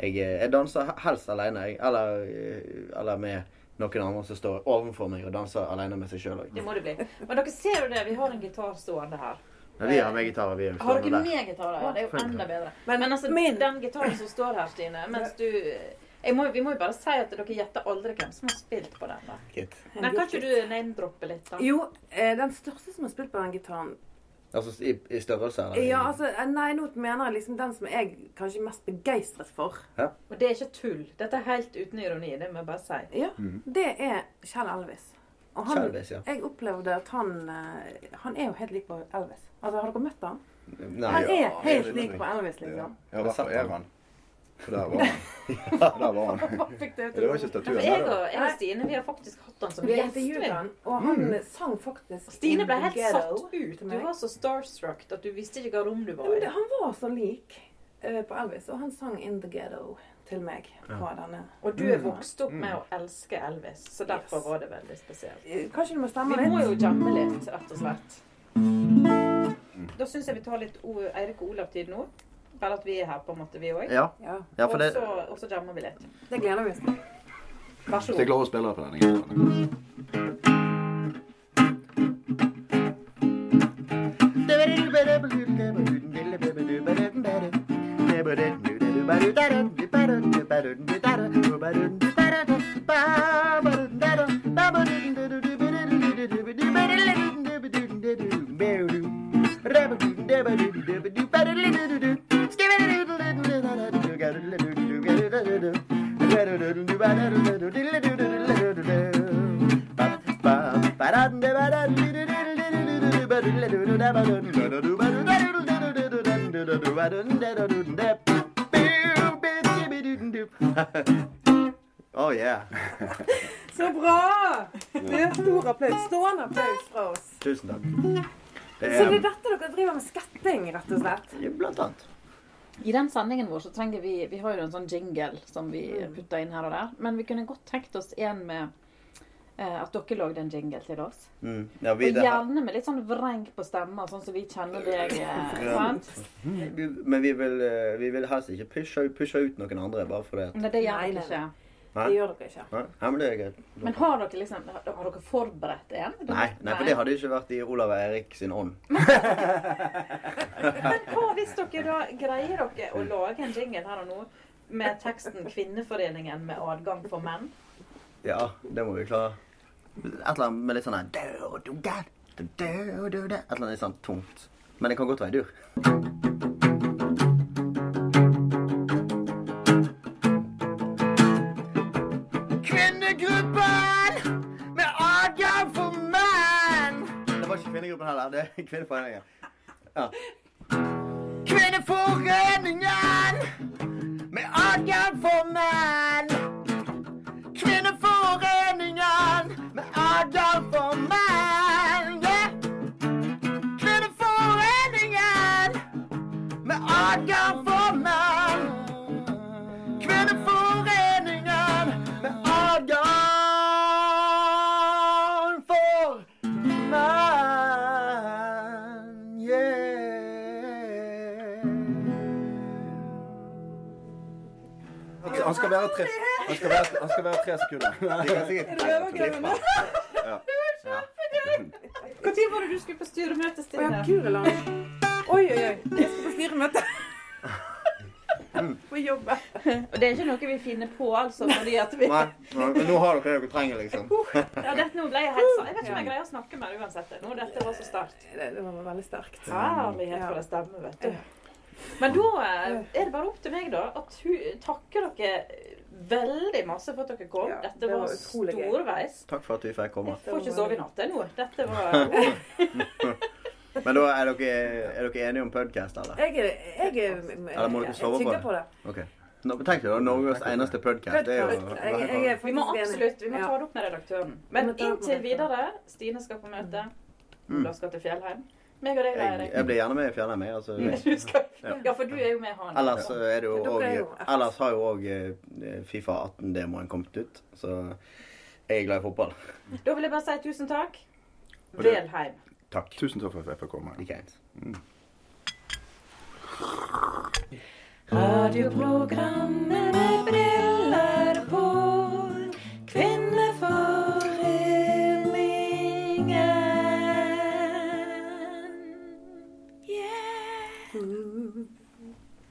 [SPEAKER 3] Jeg, eh, jeg danser he- helst alene, jeg. Eller, eh, eller med noen andre som står ovenfor meg og danser alene med seg sjøl
[SPEAKER 2] Det
[SPEAKER 3] òg.
[SPEAKER 2] må det bli. Men dere ser jo det, vi har en gitar stående her.
[SPEAKER 3] Vi har med gitarer, vi òg.
[SPEAKER 2] Har dere med gitarer? Ja, det er jo enda bedre. Men, altså,
[SPEAKER 1] Men-
[SPEAKER 2] den gitaren som står her, Stine, mens du jeg må, Vi må jo bare si at dere gjetter aldri hvem som har spilt på den. da. Men kan ikke du name-droppe litt, da?
[SPEAKER 1] Jo, eh, den største som har spilt på den gitaren
[SPEAKER 3] Altså i, i størrelse, eller?
[SPEAKER 1] Ja, altså, eh, nei, nå mener jeg liksom den som jeg kanskje er mest begeistret for.
[SPEAKER 2] Og det er ikke tull. Dette er helt uten ironi. Det må jeg bare si.
[SPEAKER 1] Ja, Det er Kjell Elvis. Og han,
[SPEAKER 3] Elvis, ja.
[SPEAKER 1] jeg opplevde at han eh, Han er jo helt lik på Elvis. Altså, Har dere møtt han?
[SPEAKER 3] Nei,
[SPEAKER 1] Han
[SPEAKER 3] ja.
[SPEAKER 1] er helt
[SPEAKER 5] det
[SPEAKER 1] lik
[SPEAKER 5] tror
[SPEAKER 1] på Elvis,
[SPEAKER 5] Ja,
[SPEAKER 1] liksom.
[SPEAKER 5] i hvert fall Evan. For der var han. Der var han.
[SPEAKER 1] Fikk det
[SPEAKER 5] Det var ikke
[SPEAKER 2] Ja, for
[SPEAKER 5] statuen.
[SPEAKER 2] Altså, jeg
[SPEAKER 5] der, det var-
[SPEAKER 2] og, jeg og Stine vi har faktisk hatt han som
[SPEAKER 1] Vi
[SPEAKER 2] gjest.
[SPEAKER 1] intervjuet
[SPEAKER 2] vi.
[SPEAKER 1] han, og han sang faktisk
[SPEAKER 2] Stine ble
[SPEAKER 1] In the
[SPEAKER 2] helt
[SPEAKER 1] Ghetto
[SPEAKER 2] satt ut.
[SPEAKER 1] til
[SPEAKER 2] Du
[SPEAKER 1] meg.
[SPEAKER 2] var så starstruck at du visste ikke hva rom du var
[SPEAKER 1] Jo,
[SPEAKER 2] i.
[SPEAKER 1] det- Han var så lik eh, på Elvis, og han sang 'In the Ghetto' til meg. På denne.
[SPEAKER 2] Og du
[SPEAKER 3] Mm.
[SPEAKER 2] er vokst opp med å elske Elvis, så derfor
[SPEAKER 1] Yes.
[SPEAKER 2] var det veldig spesielt.
[SPEAKER 1] Eh, Kanskje du må stemme
[SPEAKER 2] Vi må
[SPEAKER 1] litt?
[SPEAKER 2] jo jamme litt, rett og slett.
[SPEAKER 3] Mm.
[SPEAKER 2] Da syns jeg vi tar litt O- Eirik og Olav-tid nå. Bare at vi er her, på en måte, vi òg.
[SPEAKER 3] Ja,
[SPEAKER 1] Ja,
[SPEAKER 3] ja, for
[SPEAKER 2] Og
[SPEAKER 3] det
[SPEAKER 2] så- og så jammer vi litt.
[SPEAKER 1] Det gleder vi oss til.
[SPEAKER 2] Vær så
[SPEAKER 5] Hvis jeg
[SPEAKER 2] god.
[SPEAKER 5] klarer å spille på denne gitaren.
[SPEAKER 3] Oh yeah.
[SPEAKER 1] Så bra! Det er stor applaus. Stående applaus fra oss.
[SPEAKER 3] Tusen takk. Det
[SPEAKER 1] Så det er dette dere driver med skatting, rett og slett?
[SPEAKER 3] er blant annet.
[SPEAKER 2] I den sendingen vår så trenger vi Vi har jo en sånn jingle som vi putter inn her og der. Men vi kunne godt tenkt oss en med eh, at dere lagde en jingle til oss.
[SPEAKER 3] Mm. Ja, vi,
[SPEAKER 2] Og
[SPEAKER 3] det her,
[SPEAKER 2] gjerne med litt sånn vreng på stemma, sånn som vi kjenner deg. eh, Sant?
[SPEAKER 3] vi, men vi vil, eh, vi vil helst ikke pushe, pushe ut noen andre, bare fordi at
[SPEAKER 2] Nei, det gjør
[SPEAKER 1] Nei,
[SPEAKER 2] dere
[SPEAKER 1] nei,
[SPEAKER 2] ikke.
[SPEAKER 3] Hæ?
[SPEAKER 1] Det gjør dere ikke.
[SPEAKER 3] Nei, ja, men det er greit.
[SPEAKER 2] Men har dere liksom Har har dere forberedt en?
[SPEAKER 3] Nei, nei, for det hadde ikke vært i Olav og Erik sin ånd.
[SPEAKER 2] Men hva hvis dere da greier dere å lage en jingle her og nå med teksten 'Kvinneforeningen med adgang for menn'?
[SPEAKER 3] Ja, det må vi klare. Et eller annet med litt sånn her dør, du, der, du, dør, du, der. Et eller annet litt sånn tungt. Men det kan godt være dur. Kvinnegruppen med adgang for menn! Det var ikke kvinnegruppen heller. Det er kvinneforeningen. Ja. Kvinneforeningen med adgang for menn! Kvinneforeningen med Adam for menn. Yeah. Kvinneforeningen med Adam for menn. Kvinneforeningen med Adam for menn. Yeah.
[SPEAKER 5] Ok, Han skal være tre, han skal være, han skal være tre sekunder.
[SPEAKER 3] Det kan sikkert
[SPEAKER 2] Når var det du skulle på styremøte,
[SPEAKER 1] Å ja,
[SPEAKER 2] Stine?
[SPEAKER 1] guri land. Oi, oi, oi. Jeg skal på styremøte. På jobb.
[SPEAKER 2] Og det er ikke noe vi finner på, altså. fordi at vi...
[SPEAKER 3] Nei, nei, men nå har dere det dere trenger, liksom.
[SPEAKER 2] Ja, dette, nå ble jeg helt sa- Jeg vet ikke om jeg greier å snakke med deg uansett. Nå, dette var så sterkt.
[SPEAKER 1] Det, det var veldig sterkt.
[SPEAKER 2] Herlighet for en stemme, vet du. Men da eh, er det bare opp til meg, da. Å tu- takke dere veldig masse for at dere kom.
[SPEAKER 1] Ja,
[SPEAKER 2] Dette
[SPEAKER 1] det var
[SPEAKER 2] var
[SPEAKER 1] utrolig gøy.
[SPEAKER 2] storveis.
[SPEAKER 3] Takk for at vi fikk komme.
[SPEAKER 2] Jeg får ikke sove i natt, jeg nå. Dette var
[SPEAKER 3] Men da er dere, er dere enige om podcast, eller?
[SPEAKER 1] Jeg, er- jeg, er-
[SPEAKER 3] Eller må dere sove
[SPEAKER 1] jeg tygger
[SPEAKER 3] på
[SPEAKER 1] på det.
[SPEAKER 3] Ok. Nå, men tenk deg da, Norges eneste podcast. Det er
[SPEAKER 1] Podcast. Jeg, jeg
[SPEAKER 3] jo...
[SPEAKER 1] er
[SPEAKER 2] Vi må
[SPEAKER 1] faktisk enig.
[SPEAKER 2] absolutt vi må
[SPEAKER 1] Ja.
[SPEAKER 2] ta det opp med redaktøren.
[SPEAKER 1] Vi
[SPEAKER 2] Men
[SPEAKER 1] må ta det opp med
[SPEAKER 2] inntil videre
[SPEAKER 1] redaktøren.
[SPEAKER 2] Stine skal på møte. Ola skal til Fjellheim. Meg og deg, da,
[SPEAKER 3] Mm. Jeg, jeg
[SPEAKER 2] Eirik.
[SPEAKER 3] blir gjerne med i Fjellheim, jeg, altså.
[SPEAKER 2] Du skal- Ja, for du er jo med han.
[SPEAKER 3] Ellers eh, så er det jo
[SPEAKER 1] Mm. Dere er jo
[SPEAKER 3] også...
[SPEAKER 1] ett.
[SPEAKER 3] Ellers har jo også eh, FIFA 18-demoen kommet ut, så jeg er glad i fotball.
[SPEAKER 2] Da vil jeg bare si tusen takk.
[SPEAKER 5] Og det-
[SPEAKER 2] Velheim.
[SPEAKER 3] Takk.
[SPEAKER 5] Tusen takk for at jeg fikk komme.
[SPEAKER 3] Ikke ens.
[SPEAKER 2] Radioprogrammet med briller på. Kvinneforeningen. Yeah.